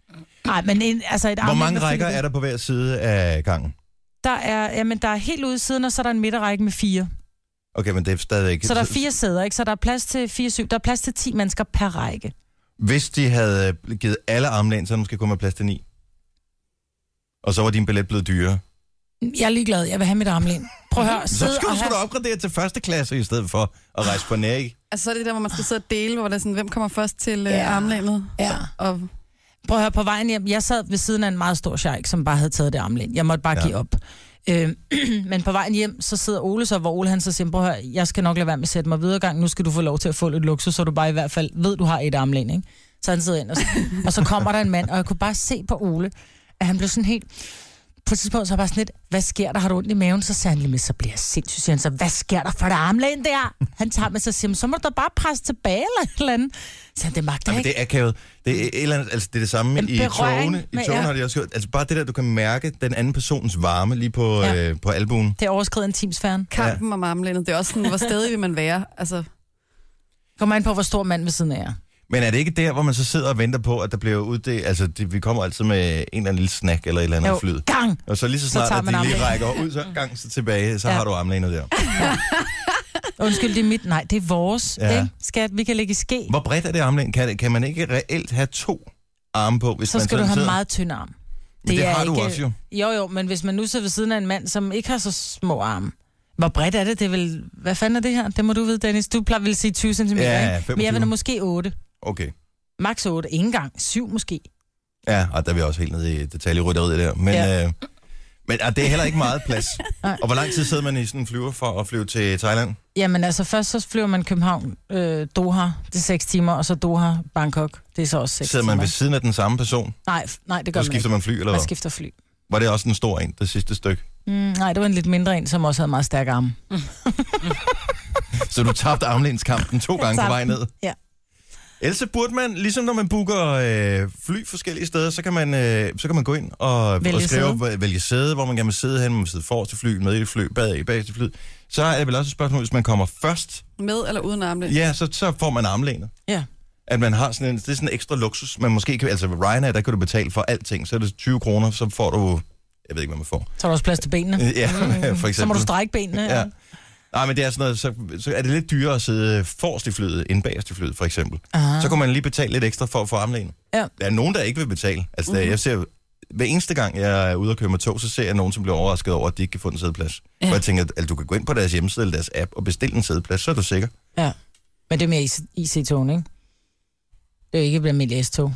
[SPEAKER 2] Nej, men en, altså et
[SPEAKER 1] Mm. Hvor
[SPEAKER 2] armlæn,
[SPEAKER 1] mange
[SPEAKER 2] der fylder
[SPEAKER 1] rækker
[SPEAKER 2] det.
[SPEAKER 1] er der på hver side af gangen?
[SPEAKER 2] Der er, jamen, der er helt ude i siden, og så er der en midterrække med fire.
[SPEAKER 1] Okay, men det er stadigvæk...
[SPEAKER 2] Så der er fire sæder, ikke? Så der er plads til 4-7. Der er plads til 10 mennesker per række.
[SPEAKER 1] Hvis de havde øh, givet alle armlæn, så havde der måske kun været plads til ni. Og så var din billet blevet dyrere.
[SPEAKER 2] Jeg er ligeglad, jeg vil have mit armlæn. Prøv at høre,
[SPEAKER 1] Mm-hmm. Så
[SPEAKER 2] sidde
[SPEAKER 1] skulle
[SPEAKER 2] og
[SPEAKER 1] du sgu
[SPEAKER 2] have...
[SPEAKER 1] da opgradere til første klasse i stedet for at rejse på næg.
[SPEAKER 3] Altså, så er det der, hvor man skal sidde og dele, hvor det er sådan, hvem kommer først til øh,
[SPEAKER 2] Ja.
[SPEAKER 3] armlænet.
[SPEAKER 2] Ja.
[SPEAKER 3] Og,
[SPEAKER 2] Prøv at høre, på vejen hjem, jeg sad ved siden af en meget stor sheik, som bare havde taget det armlæn. Jeg måtte bare
[SPEAKER 1] Ja.
[SPEAKER 2] ja. give op. Øh, men på vejen hjem, så sidder Ole så, hvor Ole han så siger, prøv at høre, jeg skal nok lade være med at sætte mig videre gang. Nu skal du få lov til at få lidt luksus, så du bare i hvert fald ved, du har et armlæn, ikke? Så han sidder ind, og, og så kommer der en mand, og jeg kunne bare se på Ole, at han blev sådan helt... På et tidspunkt så var jeg bare sådan lidt, hvad sker der? Har du ondt i maven? Så sagde han lige med, så bliver jeg sindssyg. Siger han så, hvad sker der for det armlæn der? Han tager med sig og siger, "Men så må du da bare presse tilbage eller et eller andet. Så han, det magter
[SPEAKER 1] Ja,
[SPEAKER 2] jeg
[SPEAKER 1] men
[SPEAKER 2] ikke.
[SPEAKER 1] det er akavet. Det er, et eller andet, altså, det er det samme
[SPEAKER 2] En
[SPEAKER 1] i
[SPEAKER 2] berøring
[SPEAKER 1] togene. I
[SPEAKER 2] med-
[SPEAKER 1] togene
[SPEAKER 2] ja.
[SPEAKER 1] har de også gjort. Altså bare det der, du kan mærke den anden persons varme lige på,
[SPEAKER 2] Ja.
[SPEAKER 1] øh, på albuen.
[SPEAKER 2] Det overskrider en timsfæren.
[SPEAKER 3] kampen om armlænet, det er også sådan, hvor stedig vil man være? Altså,
[SPEAKER 2] Kommer an på, hvor stor mand ved siden af jer.
[SPEAKER 1] Men er det ikke der, hvor man så sidder og venter på, at der bliver uddelt... Altså, det, vi kommer altid med en eller anden lille snack eller et eller andet flyd.
[SPEAKER 2] gang!
[SPEAKER 1] Og så lige så
[SPEAKER 2] Så
[SPEAKER 1] snart,
[SPEAKER 2] tager
[SPEAKER 1] at
[SPEAKER 2] man
[SPEAKER 1] de lige
[SPEAKER 2] armlænet.
[SPEAKER 1] rækker ud, så gang så tilbage, så ja.
[SPEAKER 2] Ja.
[SPEAKER 1] har du armlænet der.
[SPEAKER 2] Undskyld, det er mit. Nej, det er vores.
[SPEAKER 1] Ja.
[SPEAKER 2] Ja. Ikke? Skat, vi kan ligge i ske.
[SPEAKER 1] Hvor bredt er det armlæn? Kan, kan man ikke reelt have to arme på, hvis
[SPEAKER 2] Så
[SPEAKER 1] man
[SPEAKER 2] skal du
[SPEAKER 1] sådan
[SPEAKER 2] have
[SPEAKER 1] sidder?
[SPEAKER 2] meget tynd arm.
[SPEAKER 1] Men det
[SPEAKER 2] er
[SPEAKER 1] har du også jo.
[SPEAKER 2] Jo, jo, men hvis man nu sidder ved siden af en mand, som ikke har så små arme. Hvor bredt er det? Det er vel... Hvad fanden er det her? Det må du vide, Dennis. Du plejer vel at sige 20 cm,
[SPEAKER 1] Ja,
[SPEAKER 2] ikke? Men jeg
[SPEAKER 1] 25.
[SPEAKER 2] vil da måske 8.
[SPEAKER 1] Okay.
[SPEAKER 2] Max 8. Ingen gang. 7 måske.
[SPEAKER 1] Ja, og der er vi også helt nede i detaljerytteriet der. Men, ja.
[SPEAKER 2] Ja.
[SPEAKER 1] øh, men og det er heller ikke meget plads.
[SPEAKER 2] Nej.
[SPEAKER 1] og hvor lang tid sidder man i sådan en flyver for at flyve til Thailand?
[SPEAKER 2] Jamen altså, først så flyver man København, øh, Doha, det er 6 timer, og så Doha, Bangkok, det er så også 6
[SPEAKER 1] Sidder
[SPEAKER 2] timer.
[SPEAKER 1] man ved siden af den samme person?
[SPEAKER 2] Nej, f- nej, det gør
[SPEAKER 1] Så
[SPEAKER 2] man
[SPEAKER 1] skifter
[SPEAKER 2] ikke.
[SPEAKER 1] man fly, eller
[SPEAKER 2] Man
[SPEAKER 1] hvad?
[SPEAKER 2] skifter fly.
[SPEAKER 1] Var det også en stor en, det sidste stykke?
[SPEAKER 2] Mm, nej, det var en lidt mindre en, som også havde meget stærke arme.
[SPEAKER 1] Så du tabte armlænskampen to gange på
[SPEAKER 2] tabte
[SPEAKER 1] vej
[SPEAKER 2] den,
[SPEAKER 1] ned?
[SPEAKER 2] ja.
[SPEAKER 1] Ellers så burde man, ligesom når man booker øh, fly forskellige steder, så kan man, øh, så kan man gå ind og,
[SPEAKER 2] Vælge
[SPEAKER 1] og skrive,
[SPEAKER 2] sæde.
[SPEAKER 1] sæde. vælge sæde, hvor man gerne vil sidde hen, man vil sidde forrest i fly, med i et fly, bag i bageste fly. Så er det vel også et spørgsmål, hvis man kommer først,
[SPEAKER 3] med eller uden armlæn?
[SPEAKER 1] ja, så, så får man armlænet.
[SPEAKER 2] Ja.
[SPEAKER 1] At man har sådan en, det er sådan en ekstra luksus, man måske kan, altså ved Ryanair, der kan du betale for alting, så er det 20 kroner, så får du, jeg ved ikke, hvad man får.
[SPEAKER 2] Så har du også plads til benene.
[SPEAKER 1] Øh, Ja, for eksempel.
[SPEAKER 2] Så må du strække benene.
[SPEAKER 1] Ja.
[SPEAKER 2] Ja.
[SPEAKER 1] Nej, men det er sådan noget, så, så er det lidt dyrere at sidde forrest i flyet end bagerst i flyet, for eksempel.
[SPEAKER 2] Aha.
[SPEAKER 1] Så kunne man lige betale lidt ekstra for at få armlænet.
[SPEAKER 2] Ah. Ja. Mhm.
[SPEAKER 1] Der er nogen, der ikke vil betale. Altså, mm-hmm. jeg ser, hver eneste gang, jeg er ude og køre med tog, så ser jeg nogen, som bliver overrasket over, at de ikke kan få en sædeplads. Ja.
[SPEAKER 2] Ja.
[SPEAKER 1] Og jeg tænker, at altså, du kan gå ind på deres hjemmeside eller deres app og bestille en sædeplads, så er du sikker.
[SPEAKER 2] ja. Men det er mere IC- IC-togen, ikke? Det er jo ikke et almindeligt S-tog,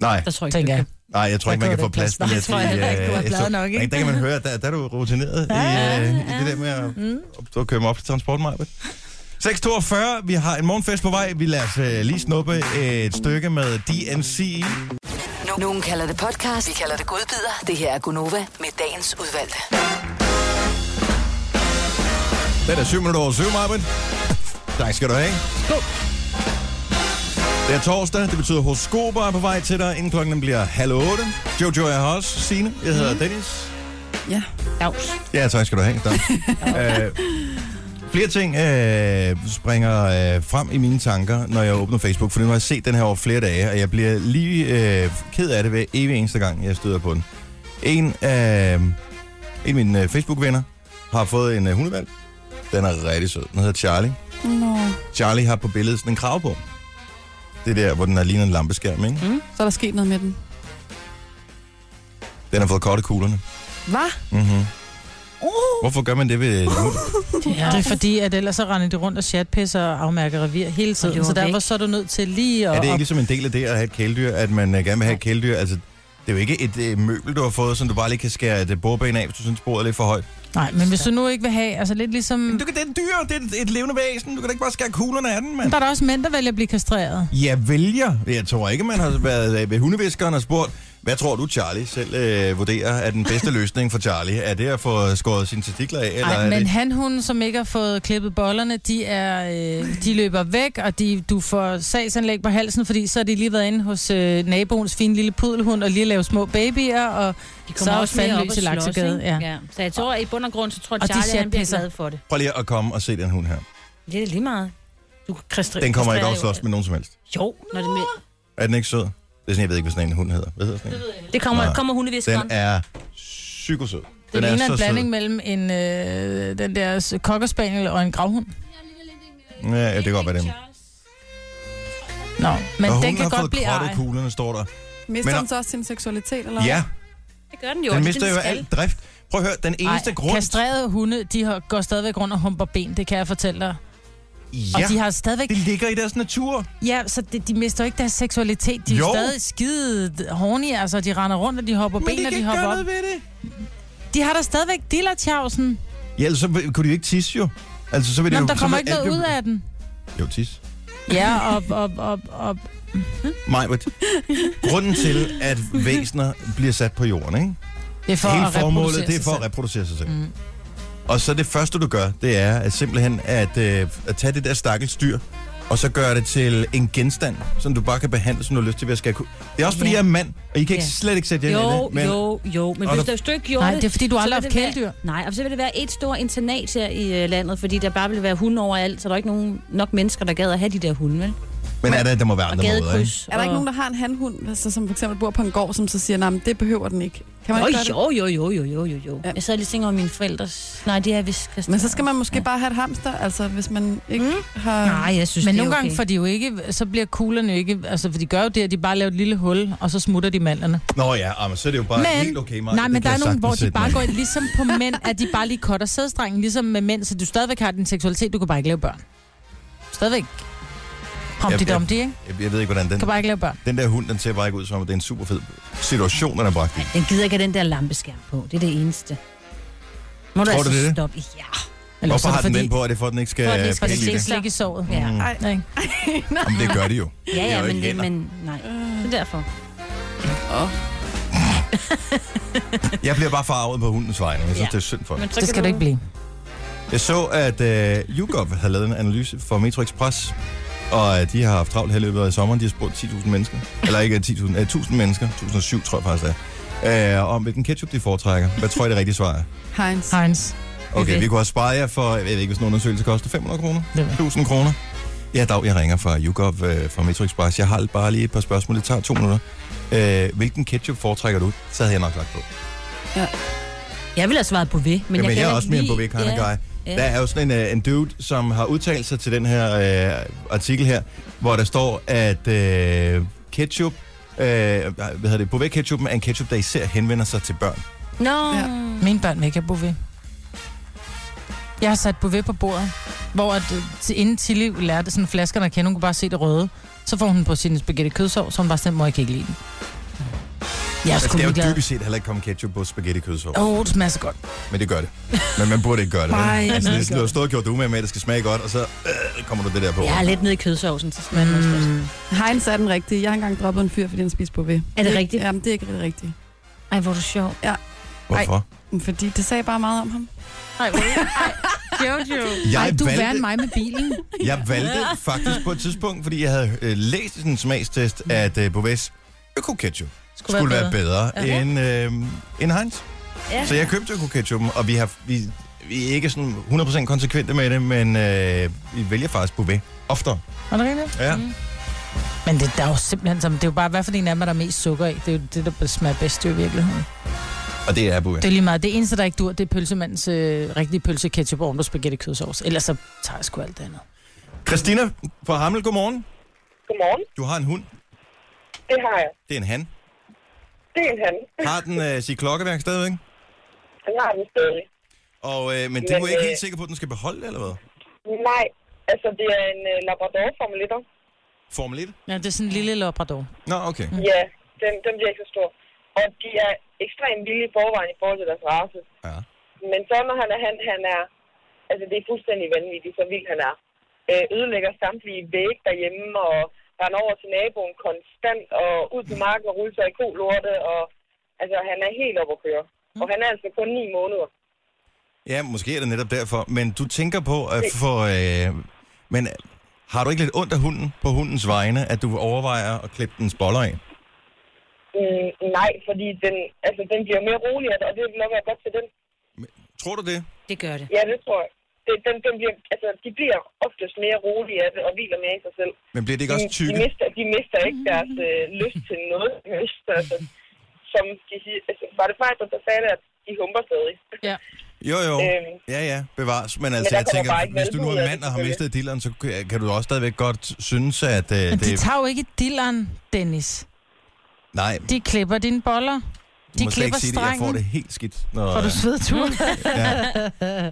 [SPEAKER 1] Nej,
[SPEAKER 4] Der tror jeg ikke,
[SPEAKER 2] tænker
[SPEAKER 4] det
[SPEAKER 2] jeg.
[SPEAKER 1] nej, jeg tror
[SPEAKER 2] Der
[SPEAKER 1] ikke, man
[SPEAKER 2] går
[SPEAKER 1] kan få
[SPEAKER 2] det
[SPEAKER 1] plads
[SPEAKER 2] plads.
[SPEAKER 1] til
[SPEAKER 2] Nej,
[SPEAKER 1] at
[SPEAKER 2] tror jeg heller ikke. Du var glad nok, ikke?
[SPEAKER 1] Der kan man høre, der, der er du rutineret i, øh, i det der med at,
[SPEAKER 2] Mm.
[SPEAKER 1] at køre mig op til transportmarkedet. 6.42, vi har en morgenfest på vej. Vi lader os øh, lige snuppe et stykke med DNC.
[SPEAKER 5] Nu- Nogen kalder det podcast, vi kalder det godbider. Det her er Gunova med dagens udvalgte.
[SPEAKER 1] Den er 7 minutter over 7, Marvin. Tak skal du have. Det er torsdag, det betyder horoskoper er på vej til dig, inden klokken den bliver halv otte. Jojo er her også, Signe, jeg hedder Dennis.
[SPEAKER 3] Ja.
[SPEAKER 4] Dags.
[SPEAKER 1] Ja, tak skal du have. Tak. øh, flere ting øh, springer øh, frem i mine tanker, når jeg åbner Facebook, for nu har jeg set den her over flere dage, og jeg bliver lige øh, ked af det hver evig eneste gang, jeg støder på den. En af, en af mine øh, Facebook-venner har fået en øh, hundevalg. Den er rigtig sød. Den hedder Charlie.
[SPEAKER 3] Nå.
[SPEAKER 1] Charlie har på billedet sådan en krav på. Det er der, hvor den har lignet en lampeskærm, ikke? Mm.
[SPEAKER 3] Så er der sket noget med den.
[SPEAKER 1] Den har fået korte kuglerne.
[SPEAKER 3] Hvad?
[SPEAKER 1] Mm-hmm. Hvorfor gør man det ved...
[SPEAKER 2] Ja. Det er fordi, at ellers så render de rundt og chatpisser og afmærker revir hele
[SPEAKER 4] Og
[SPEAKER 2] tiden.
[SPEAKER 4] løber
[SPEAKER 2] Så derfor
[SPEAKER 4] væk.
[SPEAKER 2] så er du nødt til lige at...
[SPEAKER 1] Er det ikke
[SPEAKER 2] op-
[SPEAKER 1] ligesom en del af det at have et kæledyr, at man øh, gerne vil have et kæledyr? Altså, det er jo ikke et øh, møbel, du har fået, som du bare lige kan skære et øh, bordben af, hvis du synes, bordet er lidt for højt.
[SPEAKER 2] Nej, men hvis du nu ikke vil have... Altså lidt ligesom...
[SPEAKER 1] kan, det er en dyr, det er et, et levende væsen. Du kan da ikke bare skære kuglerne af den, mand.
[SPEAKER 2] Der er der også mænd, der vælger at blive kastreret.
[SPEAKER 1] Jeg vælger. Jeg tror ikke, man har været øh, ved hundeviskeren og spurgt, hvad tror du, Charlie selv øh, vurderer er den bedste løsning for Charlie? Er det at få skåret sine testikler af? Eller
[SPEAKER 2] Nej,
[SPEAKER 1] er
[SPEAKER 2] men
[SPEAKER 1] det...
[SPEAKER 2] han hun, som ikke har fået klippet bollerne, de, er, øh, de løber væk, og de, du får sagsanlæg på halsen, fordi så har de lige været inde hos øh, naboens fine lille pudelhund og lige lavet små babyer, og
[SPEAKER 4] De
[SPEAKER 2] Så
[SPEAKER 4] kommer
[SPEAKER 2] er
[SPEAKER 4] også
[SPEAKER 2] fandme
[SPEAKER 4] mere op
[SPEAKER 2] løs
[SPEAKER 4] og
[SPEAKER 2] i
[SPEAKER 4] slås,
[SPEAKER 2] Laksegade,
[SPEAKER 4] ikke?
[SPEAKER 2] ja.
[SPEAKER 4] ja. Så jeg tror, at i bund og grund, så tror
[SPEAKER 2] de
[SPEAKER 4] jeg, Charlie han bliver
[SPEAKER 2] chatpisser.
[SPEAKER 4] glad for det.
[SPEAKER 1] Prøv lige at komme og se den hund her.
[SPEAKER 4] Det er lige meget. Du kan kristre-
[SPEAKER 1] Den kommer ikke op
[SPEAKER 4] kastrerer
[SPEAKER 1] og slås
[SPEAKER 4] jo-
[SPEAKER 1] med nogen som helst.
[SPEAKER 4] Jo, når det, med.
[SPEAKER 1] Er den ikke sød? Det er sådan, jeg ved ikke, hvad sådan en hund hedder. Hvad hedder sådan en?
[SPEAKER 4] det kommer,
[SPEAKER 1] Nej.
[SPEAKER 4] kommer
[SPEAKER 1] Den
[SPEAKER 4] hundeviskeren.
[SPEAKER 1] er psykosød.
[SPEAKER 2] Det ligner en
[SPEAKER 1] sød.
[SPEAKER 2] blanding mellem en, øh, den der s- cocker spaniel og en gravhund.
[SPEAKER 1] Ja, ja, det kan godt være dem.
[SPEAKER 2] Nå, men
[SPEAKER 1] og hun
[SPEAKER 2] den kan
[SPEAKER 1] har
[SPEAKER 2] godt
[SPEAKER 1] fået
[SPEAKER 2] blive
[SPEAKER 1] krottet
[SPEAKER 2] ej.
[SPEAKER 1] kuglerne, står der.
[SPEAKER 3] Mister
[SPEAKER 1] Men-
[SPEAKER 3] den så også sin seksualitet, eller hvad?
[SPEAKER 1] Ja,
[SPEAKER 4] Det gør den jo
[SPEAKER 1] den
[SPEAKER 4] også,
[SPEAKER 1] mister jo
[SPEAKER 4] skal.
[SPEAKER 1] alt drift. Prøv at høre, den eneste
[SPEAKER 2] Ej,
[SPEAKER 1] grund...
[SPEAKER 2] Kastrerede hunde, de har, går stadigvæk rundt og humper ben, det kan jeg fortælle dig. Og
[SPEAKER 1] Ja,
[SPEAKER 2] de har stadigvæk...
[SPEAKER 1] det ligger i deres natur.
[SPEAKER 2] Ja, så de, de mister jo ikke deres seksualitet. De er jo
[SPEAKER 1] Jo.
[SPEAKER 2] stadig skide horny, altså de render rundt, og de hopper ben, og de hopper op.
[SPEAKER 1] ved det.
[SPEAKER 2] De har da stadigvæk dillertjavsen.
[SPEAKER 1] Ja, ellers så vil- kunne de jo ikke tisse jo. Altså, så vil det
[SPEAKER 2] Nå,
[SPEAKER 1] jo,
[SPEAKER 2] men der
[SPEAKER 1] så
[SPEAKER 2] kommer
[SPEAKER 1] vil
[SPEAKER 2] ikke
[SPEAKER 1] alt
[SPEAKER 2] noget ud
[SPEAKER 1] jo-
[SPEAKER 2] af den.
[SPEAKER 1] Jo, tis.
[SPEAKER 2] Ja, op, op, op, op.
[SPEAKER 1] Mig, Grunden til, at væsener bliver sat på jorden, ikke?
[SPEAKER 2] Det er for
[SPEAKER 1] Hele
[SPEAKER 2] at
[SPEAKER 1] formålet,
[SPEAKER 2] reproducere
[SPEAKER 1] det er for
[SPEAKER 2] sig
[SPEAKER 1] at
[SPEAKER 2] selv.
[SPEAKER 1] reproducere sig selv. Mm. Og så det første, du gør, det er at simpelthen at, øh, at tage det der stakkels dyr, og så gøre det til en genstand, som du bare kan behandle, som du har lyst til, hvad jeg skal kunne. Det er også, fordi
[SPEAKER 4] Ja.
[SPEAKER 1] jeg er mand, og I kan ikke
[SPEAKER 4] Ja.
[SPEAKER 1] slet ikke sætte jer ind i
[SPEAKER 4] Jo,
[SPEAKER 1] det. Men
[SPEAKER 4] jo, jo. Men
[SPEAKER 1] Og
[SPEAKER 4] hvis,
[SPEAKER 1] der-
[SPEAKER 4] der, hvis du ikke gjorde
[SPEAKER 2] Nej, det er fordi, du
[SPEAKER 4] så
[SPEAKER 2] aldrig har
[SPEAKER 4] vil
[SPEAKER 2] haft
[SPEAKER 4] det
[SPEAKER 2] kæledyr.
[SPEAKER 4] Være, nej, og så vil det være et stort internat her i øh, landet, fordi der bare vil være hunde overalt, så der er ikke nogen, nok mennesker, der gad at have de der hunde, vel?
[SPEAKER 1] men er der, der må være
[SPEAKER 4] Og
[SPEAKER 1] andre måder, ikke?
[SPEAKER 4] gadekryds.
[SPEAKER 3] Er der ikke
[SPEAKER 4] og-
[SPEAKER 3] nogen, der har en handhund, altså, som for eksempel bor på en gård, som så siger, nej, men det behøver den ikke? Kan man ikke gøre det?
[SPEAKER 4] Jo, jo, jo, jo, jo, jo, jo.
[SPEAKER 3] Ja.
[SPEAKER 4] Ja. Jeg sad lige og tænkte over mine forældres... Nej, det er vist...
[SPEAKER 3] Men så skal man måske bare have et hamster, altså hvis man ikke mm. har...
[SPEAKER 4] Nej, jeg synes,
[SPEAKER 2] Men
[SPEAKER 4] det
[SPEAKER 2] nogle
[SPEAKER 4] er
[SPEAKER 2] gange
[SPEAKER 4] okay.
[SPEAKER 2] får de jo ikke, så bliver kuglerne jo ikke, altså for de gør jo det, at de bare laver et lille hul, og så smutter de mandlerne.
[SPEAKER 1] Nå ja, ah, men så er det jo bare
[SPEAKER 2] Men,
[SPEAKER 1] helt okay, Maja.
[SPEAKER 2] nej,
[SPEAKER 1] Det kan
[SPEAKER 2] men der er
[SPEAKER 1] jeg
[SPEAKER 2] nogen, hvor
[SPEAKER 1] sagtens
[SPEAKER 2] de
[SPEAKER 1] sætte
[SPEAKER 2] bare
[SPEAKER 1] mig
[SPEAKER 2] går, ligesom på mænd, at de bare lige cutter sædstrengen, ligesom med mænd, så du stadigvæk har din seksualitet, du kan bare ikke lave børn. Stadigvæk. Humpty
[SPEAKER 1] Ja, ja.
[SPEAKER 2] Dumpty, ikke?
[SPEAKER 1] i. Jeg, jeg ved ikke, hvordan
[SPEAKER 2] Kan
[SPEAKER 1] den,
[SPEAKER 2] bare ikke lave børn.
[SPEAKER 1] den der hund, den ser bare ikke ud som om, at det er en super fed situation, den er bragt i.
[SPEAKER 4] Den gider ikke have den der lampeskærm på. Det er det eneste. Må du
[SPEAKER 1] Tror du,
[SPEAKER 4] altså
[SPEAKER 1] det er det?
[SPEAKER 4] stoppe? Ja.
[SPEAKER 2] Eller
[SPEAKER 1] Hvorfor
[SPEAKER 2] er det
[SPEAKER 1] har den
[SPEAKER 2] fordi-
[SPEAKER 1] den på? Er det for, at den ikke skal
[SPEAKER 4] For at den ikke
[SPEAKER 2] For
[SPEAKER 4] skal
[SPEAKER 2] det
[SPEAKER 1] pille i
[SPEAKER 2] skal
[SPEAKER 1] det?
[SPEAKER 4] ses.
[SPEAKER 2] slikke i såret.
[SPEAKER 4] Ja,
[SPEAKER 1] Mm.
[SPEAKER 3] Ej,
[SPEAKER 2] Ikke?
[SPEAKER 1] Jamen, det gør de jo.
[SPEAKER 4] ja,
[SPEAKER 1] Det er
[SPEAKER 4] ja
[SPEAKER 1] jo ikke
[SPEAKER 4] men,
[SPEAKER 1] hænder.
[SPEAKER 4] men nej. Det er derfor.
[SPEAKER 1] Jeg bliver bare farvet på hundens vegne. Jeg synes,
[SPEAKER 4] Ja.
[SPEAKER 1] det er synd for dem.
[SPEAKER 4] Men så
[SPEAKER 2] Det skal du ikke blive.
[SPEAKER 1] Jeg så, at øh, YouGov havde lavet en analyse for Metro Express, og øh, de har haft travlt her i løbet af sommeren. De har spurgt 10.000 mennesker, eller ikke 10.000, øh, 1.000 mennesker, 1.007 tror jeg faktisk det er, øh, om hvilken ketchup de foretrækker. Hvad tror I, det rigtige svar er?
[SPEAKER 3] Heinz.
[SPEAKER 2] Heinz.
[SPEAKER 1] Okay,
[SPEAKER 2] Okay.
[SPEAKER 1] vi kunne have sparet jer for, jeg ved ikke, hvis en undersøgelse koster 500 kroner,
[SPEAKER 2] Det var-
[SPEAKER 1] 1.000 kroner. Ja, Dag, jeg ringer fra YouGov øh, fra Metro Express. Jeg har bare lige et par spørgsmål, det tager to minutter. Øh, hvilken ketchup foretrækker du? Så havde jeg nok lagt på.
[SPEAKER 4] Jeg ville have svaret på ved, men
[SPEAKER 1] Men Jamen,
[SPEAKER 4] jeg,
[SPEAKER 1] jeg,
[SPEAKER 4] kan
[SPEAKER 1] er også mere en på kind
[SPEAKER 4] ja.
[SPEAKER 1] of guy.
[SPEAKER 4] ja.
[SPEAKER 1] Der er jo sådan en, øh, en dude, som har udtalt sig til den her øh, artikel her, hvor der står, at øh, ketchup, øh, hvad hedder det, Beauvais ketchupen er en ketchup, der især henvender sig til børn.
[SPEAKER 4] Nå.
[SPEAKER 3] Ja.
[SPEAKER 2] Mine børn vil ikke have bouvet. Jeg har sat bouvet på bordet, hvor at, øh, til- inden Tilly lærte sådan flaskerne at kende, hun kunne bare se det røde. Så får hun den på sin spaghetti kødsov, så hun bare sådan, må jeg ikke lide den. Jeg er
[SPEAKER 1] Altså,
[SPEAKER 2] sgu
[SPEAKER 1] det er jo
[SPEAKER 2] ligeglad.
[SPEAKER 1] dybest set heller ikke kommet ketchup på spaghetti kødsov,
[SPEAKER 2] Åh, oh, det smager så godt.
[SPEAKER 1] men det gør det. Men man burde ikke gøre det. vel?
[SPEAKER 2] Nej,
[SPEAKER 1] altså,
[SPEAKER 2] nej,
[SPEAKER 1] det er sådan, du
[SPEAKER 2] gør
[SPEAKER 1] har
[SPEAKER 2] det.
[SPEAKER 1] stået og gjort dig umage med, at det skal smage godt, og så øh, kommer du det der på.
[SPEAKER 4] Jeg er lidt nede i kødsovsen, så smager
[SPEAKER 2] Men
[SPEAKER 1] Mm.
[SPEAKER 2] øh,
[SPEAKER 4] det også lidt.
[SPEAKER 3] Heinz er den rigtige. Jeg har engang droppet en fyr, fordi han spiste på ved.
[SPEAKER 4] Er det rigtigt?
[SPEAKER 3] Jamen, det er ikke det rigtige.
[SPEAKER 4] Ej, hvor er du sjov.
[SPEAKER 1] Hvorfor?
[SPEAKER 3] Men Fordi det sagde bare meget om ham.
[SPEAKER 2] nej, Jojo.
[SPEAKER 1] Jeg
[SPEAKER 2] Ej, du
[SPEAKER 1] valgte-
[SPEAKER 2] er værre end mig med bilen.
[SPEAKER 1] Jeg valgte faktisk på et tidspunkt, fordi jeg havde øh, læst i sådan en smagstest, at øh, Beauvais øko-ketchup skulle, skulle være bedre, bedre
[SPEAKER 4] Ja.
[SPEAKER 1] end, øh, end Heinz.
[SPEAKER 4] Ja.
[SPEAKER 1] Så jeg købte øko-ketchupen, og vi, har, vi, vi er ikke sådan 100% konsekvente med det, men øh, vi vælger faktisk Beauvais oftere.
[SPEAKER 2] Var det rigtigt?
[SPEAKER 1] Ja.
[SPEAKER 4] Mm.
[SPEAKER 2] Men det, der er jo simpelthen som, det er jo bare, hvad for en af dem er der er mest sukker i? Det er jo det, der smager bedst jo i virkeligheden.
[SPEAKER 1] Og det er Beauvais.
[SPEAKER 2] Det er lige meget. Det eneste, der ikke dur, det er pølsemandens øh, rigtige pølse ketchup oven på spaghetti kødsovs. Ellers så tager jeg sgu alt det andet.
[SPEAKER 1] Christina fra Hamel, godmorgen.
[SPEAKER 6] Godmorgen,
[SPEAKER 1] Du har en hund.
[SPEAKER 6] det har jeg.
[SPEAKER 1] Det er en han.
[SPEAKER 6] Det er en han.
[SPEAKER 1] Har den øh, sit klokkeværk stadigvæk?
[SPEAKER 6] Han har den stadig.
[SPEAKER 1] Og, øh, men du
[SPEAKER 6] Men,
[SPEAKER 1] er ikke
[SPEAKER 6] øh,
[SPEAKER 1] helt sikker på, at den skal beholde det, eller hvad?
[SPEAKER 6] Nej, altså det er en uh, labrador formelitter.
[SPEAKER 1] Formel 1?
[SPEAKER 2] Ja, det er sådan en lille labrador.
[SPEAKER 1] Nå, okay.
[SPEAKER 6] Ja, den, den bliver ikke så stor. Og de er ekstremt vilde i forvejen i forhold til deres race.
[SPEAKER 1] Ja.
[SPEAKER 6] Men så når han er han, han er... Altså det er fuldstændig vanvittigt, så vild han er. Øh, ødelægger samtlige vægge derhjemme og render over til naboen konstant og ud på marken og ruller sig i kolorte. Og, altså han er helt oppe at køre. Og han er altså kun 9 måneder.
[SPEAKER 1] Ja, måske er det netop derfor, men du tænker på at få... Øh, men har du ikke lidt ondt af hunden på hundens vegne, at du overvejer at klippe dens boller af?
[SPEAKER 6] Mm, nej, fordi den, altså, den bliver mere rolig, og og det vil nok være godt til den.
[SPEAKER 1] Tror du det?
[SPEAKER 4] Det gør det.
[SPEAKER 6] Ja, det tror jeg. Det, den, den bliver, altså, de bliver oftest mere rolige af det, og hviler mere i sig selv.
[SPEAKER 1] Men bliver det ikke
[SPEAKER 6] De,
[SPEAKER 1] også
[SPEAKER 6] de,
[SPEAKER 1] tykke?
[SPEAKER 6] mister, de mister ikke deres øh, lyst til noget. som helst, altså, som de siger, altså, var det faktisk, der sagde det, at de humper stadig.
[SPEAKER 2] Ja.
[SPEAKER 1] Jo, jo.
[SPEAKER 6] Øhm.
[SPEAKER 1] Ja, ja, bevares. Men altså,
[SPEAKER 6] der
[SPEAKER 1] jeg
[SPEAKER 6] kommer
[SPEAKER 1] tænker,
[SPEAKER 6] bare ikke
[SPEAKER 1] hvis du nu
[SPEAKER 6] velbud af
[SPEAKER 1] er
[SPEAKER 6] det,
[SPEAKER 1] mand og har
[SPEAKER 6] selvfølgelig.
[SPEAKER 1] mistet dilleren, så kan- kan du også stadigvæk godt synes, at øh,
[SPEAKER 2] Men
[SPEAKER 1] det
[SPEAKER 2] de
[SPEAKER 1] er...
[SPEAKER 2] tager jo ikke dilleren, Dennis.
[SPEAKER 1] Nej,
[SPEAKER 2] De klipper dine boller.
[SPEAKER 1] du
[SPEAKER 2] De
[SPEAKER 1] må slet
[SPEAKER 2] klipper
[SPEAKER 1] ikke sige det. Jeg får
[SPEAKER 2] strengen.
[SPEAKER 1] det helt skidt. Når,
[SPEAKER 2] Får du svedtur?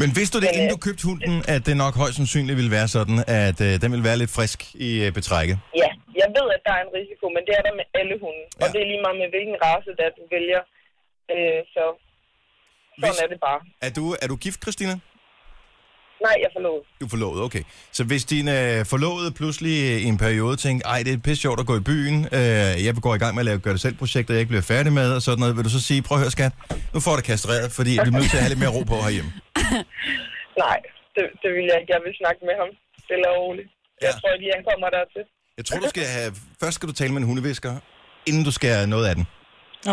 [SPEAKER 1] Men vidste du det,
[SPEAKER 6] Men,
[SPEAKER 1] inden
[SPEAKER 6] øh,
[SPEAKER 1] du købte hunden, at det nok højst sandsynligt ville være sådan, at øh, den ville være lidt frisk i øh, betrækket?
[SPEAKER 6] Ja, jeg ved, at der er en risiko, men det er der med alle hunde. Og
[SPEAKER 1] Ja.
[SPEAKER 6] det er lige meget med, hvilken race, der du vælger. Øh, så sådan
[SPEAKER 1] Hvis-
[SPEAKER 6] er det bare.
[SPEAKER 1] Er du, er du gift, Christina?
[SPEAKER 6] Nej, jeg forlod.
[SPEAKER 1] Du er forlovet, okay. Så hvis din øh, forlovede pludselig øh, i en periode tænker, ej, det er pisse sjovt at gå i byen, øh, jeg går i gang med at lave gør-det-selv-projekter, jeg ikke bliver færdig med, og sådan noget, vil du så sige, prøv at høre, skat, nu får du kastreret, fordi vi er nødt til at have lidt mere ro på herhjemme.
[SPEAKER 6] Nej, det, det vil jeg ikke. Jeg vil snakke med ham. Stille og roligt. Jeg
[SPEAKER 1] Ja.
[SPEAKER 6] tror ikke, han kommer dertil.
[SPEAKER 1] Jeg tror, du skal have, først skal du tale med en hundevisker, inden du skærer noget af den.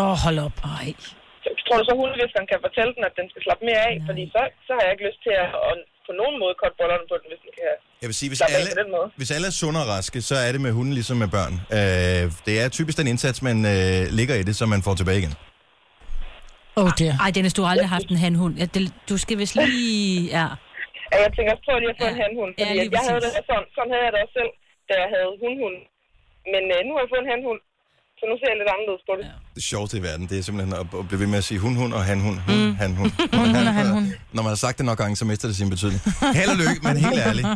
[SPEAKER 4] Åh, oh, hold op. Ej.
[SPEAKER 6] Så tror du så, hundeviskeren kan fortælle den, at den skal slappe mere af? Nej. Fordi så, så har jeg ikke lyst til at, at på nogen måde korte bollerne på den, hvis den kan have.
[SPEAKER 1] Jeg vil sige, hvis
[SPEAKER 6] Slappe af
[SPEAKER 1] alle,
[SPEAKER 6] på den måde.
[SPEAKER 1] hvis alle er sunde og raske, så er det med hunden ligesom med børn. Øh, det er typisk den indsats, man øh, ligger i det, som man får tilbage igen.
[SPEAKER 2] Åh, oh, der.
[SPEAKER 4] Ej, Dennis, du har aldrig haft en handhund. Ja, det, du skal vist lige... Ja.
[SPEAKER 6] Ja, jeg tænker, jeg tror lige, at få
[SPEAKER 4] Ja.
[SPEAKER 6] en handhund.
[SPEAKER 4] Ja,
[SPEAKER 6] Fordi
[SPEAKER 4] lige
[SPEAKER 6] at jeg havde det
[SPEAKER 4] præcis.
[SPEAKER 6] sådan, sådan havde jeg det også selv, da jeg havde hundhund. Men øh, nu har jeg fået en handhund, så nu ser jeg lidt anderledes på det. Ja.
[SPEAKER 1] Det sjoveste i verden, det er simpelthen at, at blive ved med at sige hun, hun og han, hun, hun, mm. han, hun. hun,
[SPEAKER 2] hun og han, hun.
[SPEAKER 1] Når man har sagt det nok gange, så mister det sin betydning. Held og lykke, men helt ærligt.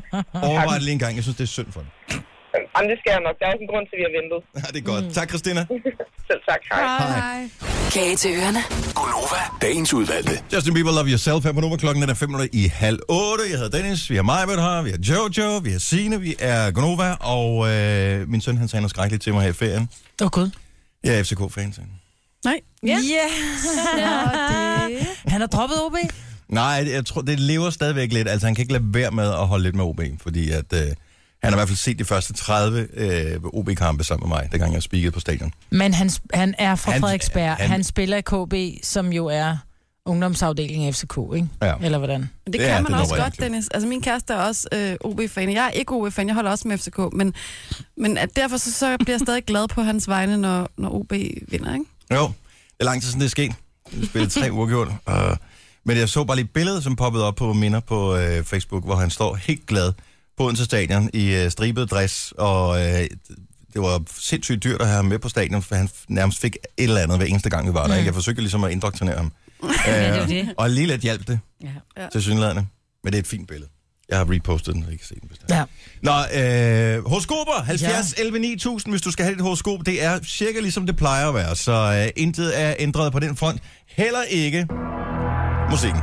[SPEAKER 1] Overvej det lige en gang. Jeg synes, det er synd for dig.
[SPEAKER 6] Jamen, det skal jeg nok. Der er også en grund til, at vi har ventet.
[SPEAKER 1] Ja, det er godt. Mm. Tak, Christina.
[SPEAKER 6] Selv tak. Hej.
[SPEAKER 3] Hej.
[SPEAKER 5] Kage til ørerne.
[SPEAKER 7] Gonova, dagens udvalgte.
[SPEAKER 1] Justin Bieber, Love Yourself her på nummer. Klokken er der fem minutter i halv otte. Jeg hedder Dennis, vi har Majbert her, vi har Jojo, vi har Signe, vi er Gonova, og øh, min søn, han sagde noget skrækkeligt til mig her i ferien.
[SPEAKER 2] Åh, oh, Gud.
[SPEAKER 1] Jeg er FCK-fan, sagde han.
[SPEAKER 3] Nej.
[SPEAKER 2] Ja. Yes. Han har droppet OB.
[SPEAKER 1] Nej, det- jeg tror, det lever stadigvæk lidt. Altså, han kan ikke lade være med at holde lidt med OB, fordi at, øh, han har i hvert fald set de første 30 øh, OB-kampe sammen med mig, dengang jeg speakede på stadion.
[SPEAKER 2] Men han, sp- han er fra
[SPEAKER 1] Han-
[SPEAKER 2] han, Frederiksberg.
[SPEAKER 1] han-
[SPEAKER 2] Han, han spiller i KB, som jo er ungdomsafdelingen af FCK, ikke?
[SPEAKER 1] Ja.
[SPEAKER 2] Eller hvordan?
[SPEAKER 3] Men det
[SPEAKER 1] Ja,
[SPEAKER 3] kan
[SPEAKER 1] det
[SPEAKER 3] man
[SPEAKER 1] er
[SPEAKER 3] også
[SPEAKER 1] noget
[SPEAKER 3] godt,
[SPEAKER 1] rigtig.
[SPEAKER 3] Dennis. Altså, min kæreste er også øh, OB-fan. Jeg er ikke OB-fan, jeg holder også med FCK, men, men at derfor så, så bliver jeg stadig glad på hans vegne, når, når OB vinder, ikke?
[SPEAKER 1] Jo, det er lang tid siden det er sket. Vi spillede tre uafgjort. Uh, men jeg så bare lige et billede, som poppede op på minder på øh, Facebook, hvor han står helt glad på Odense Stadion i øh, stribet dress, og øh, det var sindssygt dyrt at have ham med på stadion, for han f- nærmest fik et eller andet hver eneste gang, vi var der. Mm. Jeg forsøgte ligesom at indoktrinere ham.
[SPEAKER 4] Ja, det er
[SPEAKER 1] Øh,
[SPEAKER 4] det.
[SPEAKER 1] og lige lidt hjalp det.
[SPEAKER 4] Ja.
[SPEAKER 1] til synlædende. Men det er et fint billede. Jeg har repostet den, så I kan se den bestemt.
[SPEAKER 2] Ja.
[SPEAKER 1] Nå, øh, horoskoper, 70 ja. 11 9000, hvis du skal have dit horoskop, det er cirka ligesom det plejer at være, så øh, intet er ændret på den front. Heller ikke musikken.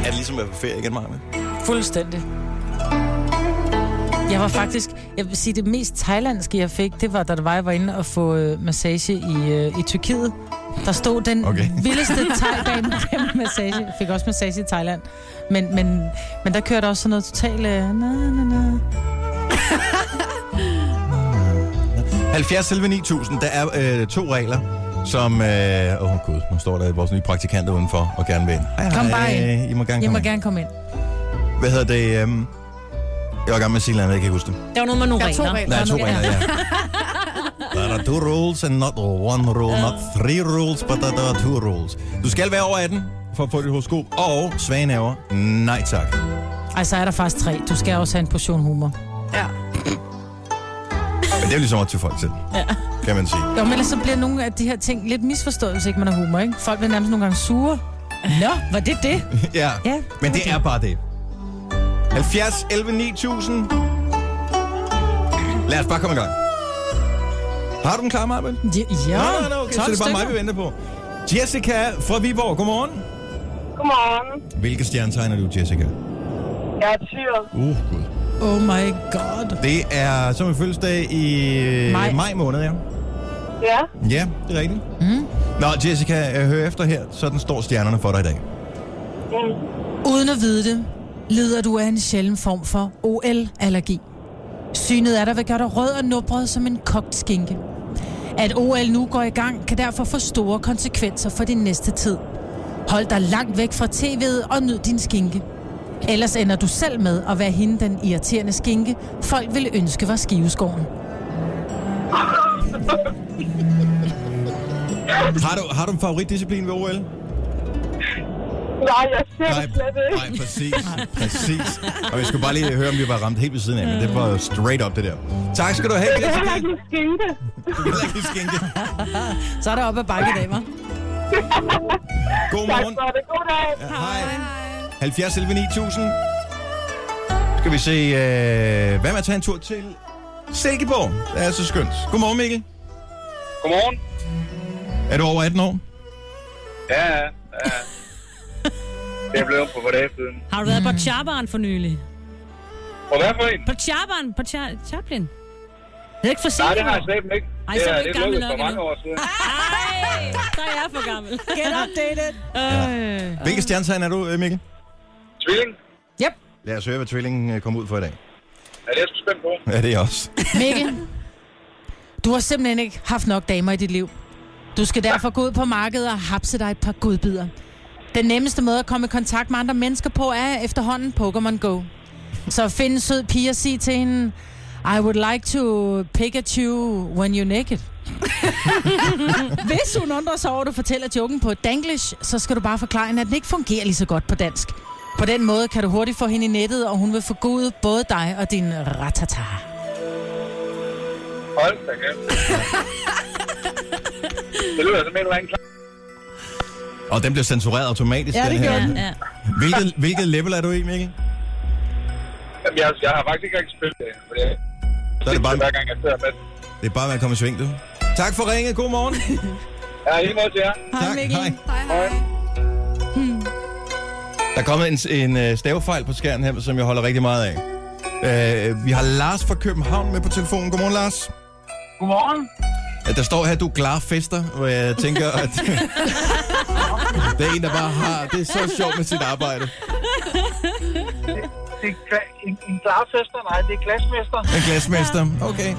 [SPEAKER 1] Er det ligesom at være på ferie igen, Maja?
[SPEAKER 2] Fuldstændig. Jeg var faktisk, jeg vil sige, det mest thailandske, jeg fik, det var, da det var, jeg var inde og få øh, massage i, øh, i Tyrkiet. Der stod den
[SPEAKER 1] Okay.
[SPEAKER 2] okay. vildeste thai-dame gennem massage. Jeg fik også massage i Thailand. Men, men, men der kørte også sådan noget totalt... Øh, na, na, na.
[SPEAKER 1] 70 11 9000, der er øh, to regler, som... Åh, øh, oh gud, nu står der vores nye praktikant udenfor og gerne vil ind. Hej,
[SPEAKER 2] Kom
[SPEAKER 1] hej,
[SPEAKER 2] bare ind.
[SPEAKER 1] I må gerne
[SPEAKER 2] Jeg
[SPEAKER 1] komme
[SPEAKER 2] må
[SPEAKER 1] ind.
[SPEAKER 2] gerne komme ind.
[SPEAKER 1] Hvad hedder det? Øhm... Jeg var i gang med at sige noget andet, jeg kan ikke huske det.
[SPEAKER 4] Der var noget med nogle
[SPEAKER 3] Der er to
[SPEAKER 4] regler.
[SPEAKER 3] regler.
[SPEAKER 1] Der er
[SPEAKER 2] Nå,
[SPEAKER 1] to
[SPEAKER 2] nu-
[SPEAKER 1] regler, ja. Der er two rules and not one rule, not three rules, but there are two rules. Du skal være over 18 for at få dit horoskop, og svage naver. Nej tak.
[SPEAKER 2] Ej, så er der faktisk tre. Du skal også have en portion humor.
[SPEAKER 3] Ja.
[SPEAKER 1] Men det er jo ligesom op til folk selv, ja. kan man sige.
[SPEAKER 2] Jo, men ellers så bliver nogle af de her ting lidt misforstået, hvis ikke man har humor, ikke? Folk bliver nærmest nogle gange sure. Nå, var det det?
[SPEAKER 1] ja.
[SPEAKER 2] Ja,
[SPEAKER 1] men det
[SPEAKER 2] okay.
[SPEAKER 1] er bare det. 70 11 9000. Lad os bare komme i gang. Har du den klar, Marben?
[SPEAKER 2] Ja, ja.
[SPEAKER 1] Nej, nej, nej, okay. Så det er bare mig, vi venter på. Jessica fra Viborg, godmorgen.
[SPEAKER 6] Godmorgen.
[SPEAKER 1] Hvilke stjernetegn er du, Jessica?
[SPEAKER 6] Jeg er tyr.
[SPEAKER 1] Uh, gud.
[SPEAKER 2] Oh my god.
[SPEAKER 1] Det er som en fødselsdag i øh,
[SPEAKER 2] Maj.
[SPEAKER 1] maj måned, ja.
[SPEAKER 6] Ja.
[SPEAKER 1] Ja, det er rigtigt. Mm. Nå, Jessica, øh, hør efter her. Sådan står stjernerne for dig i dag.
[SPEAKER 6] Mm.
[SPEAKER 2] Uden at vide det, lider du af en sjælden form for OL-allergi. Synet er der vil gøre dig rød og nubret som en kogt skinke. At OL nu går i gang, kan derfor få store konsekvenser for din næste tid. Hold dig langt væk fra tv'et og nyd din skinke. Ellers ender du selv med at være hende den irriterende skinke, folk ville ønske var skiveskoven.
[SPEAKER 1] Har du, har du en favoritdisciplin ved OL?
[SPEAKER 6] Nej, jeg ser det slet ikke.
[SPEAKER 1] nej, præcis, præcis. Og jeg skulle bare lige høre, om vi var ramt helt ved siden af, men det var straight up, det der. Tak skal du have,
[SPEAKER 6] Jeg kan
[SPEAKER 1] Jessica.
[SPEAKER 6] heller ikke lide skinke.
[SPEAKER 1] Du kan heller ikke skænke.
[SPEAKER 2] Så er der op ad bakke, damer.
[SPEAKER 1] God
[SPEAKER 6] Tak
[SPEAKER 1] morgen.
[SPEAKER 6] for det. God dag.
[SPEAKER 1] Hej. 70 11 9000. Skal vi se, øh, hvad med at tage en tur til Silkeborg? Det er så skønt. Godmorgen, Mikkel.
[SPEAKER 8] Godmorgen.
[SPEAKER 1] Er du over 18 år?
[SPEAKER 8] Ja, ja, ja. Det blev på for dage siden.
[SPEAKER 4] Har du været på Charbaren for nylig?
[SPEAKER 8] Og hvad for en?
[SPEAKER 4] På Charbaren? På Char Chaplin? Det er ikke for sent.
[SPEAKER 8] Nej, det har jeg slet ikke.
[SPEAKER 4] Ej,
[SPEAKER 8] det
[SPEAKER 4] så er
[SPEAKER 8] er,
[SPEAKER 4] du
[SPEAKER 8] det
[SPEAKER 4] ikke
[SPEAKER 8] er
[SPEAKER 4] gammel
[SPEAKER 8] lukket
[SPEAKER 4] nok
[SPEAKER 8] for mange
[SPEAKER 4] endnu.
[SPEAKER 8] år siden.
[SPEAKER 4] Ej, så er jeg for gammel.
[SPEAKER 2] Get updated.
[SPEAKER 4] Øh.
[SPEAKER 1] Hvilke stjernetegn er du, øh, Mikkel?
[SPEAKER 8] Tvilling?
[SPEAKER 2] Yep.
[SPEAKER 1] Lad os høre, hvad tvillingen øh, kom ud for i dag.
[SPEAKER 8] Ja, det er jeg sgu spændt på.
[SPEAKER 1] Ja, det er også.
[SPEAKER 2] Mikkel, du har simpelthen ikke haft nok damer i dit liv. Du skal derfor gå ud på markedet og hapse dig et par godbidder. Den nemmeste måde at komme i kontakt med andre mennesker på er efterhånden Pokémon Go. Så find en sød pige og sig til hende, I would like to Pikachu when you're naked. Hvis hun undrer sig over, at du fortæller joken på danglish, så skal du bare forklare hende, at den ikke fungerer lige så godt på dansk. På den måde kan du hurtigt få hende i nettet, og hun vil forgode både dig og din ratata.
[SPEAKER 8] Hold da kæft. Det lyder som en eller anden klar.
[SPEAKER 1] Og den bliver censureret automatisk,
[SPEAKER 2] Ja,
[SPEAKER 1] den
[SPEAKER 2] det
[SPEAKER 1] her.
[SPEAKER 2] gør den.
[SPEAKER 4] Ja.
[SPEAKER 1] Hvilket, hvilket level er du i, Mikkel?
[SPEAKER 8] Jamen, jeg, jeg har faktisk ikke engang spillet det. Fordi jeg,
[SPEAKER 1] Så er det bare,
[SPEAKER 8] hver gang jeg sidder med. den.
[SPEAKER 1] det er bare med at komme i sving, du. Tak for ringet. God morgen.
[SPEAKER 8] Ja, i lige måde til jer.
[SPEAKER 1] tak. Hej.
[SPEAKER 3] Hej, hej. Hmm.
[SPEAKER 1] Der er kommet en, en øh, stavefejl på skærmen her, som jeg holder rigtig meget af. Øh, vi har Lars fra København med på telefonen. Godmorgen, Lars.
[SPEAKER 8] Godmorgen.
[SPEAKER 1] Øh, Der står her, du er klar fester, hvor jeg tænker, at det er en, der bare har... Det er så sjovt med sit arbejde.
[SPEAKER 8] Det er en, en glasmester? Nej, det er glasmester.
[SPEAKER 1] En glasmester. Okay.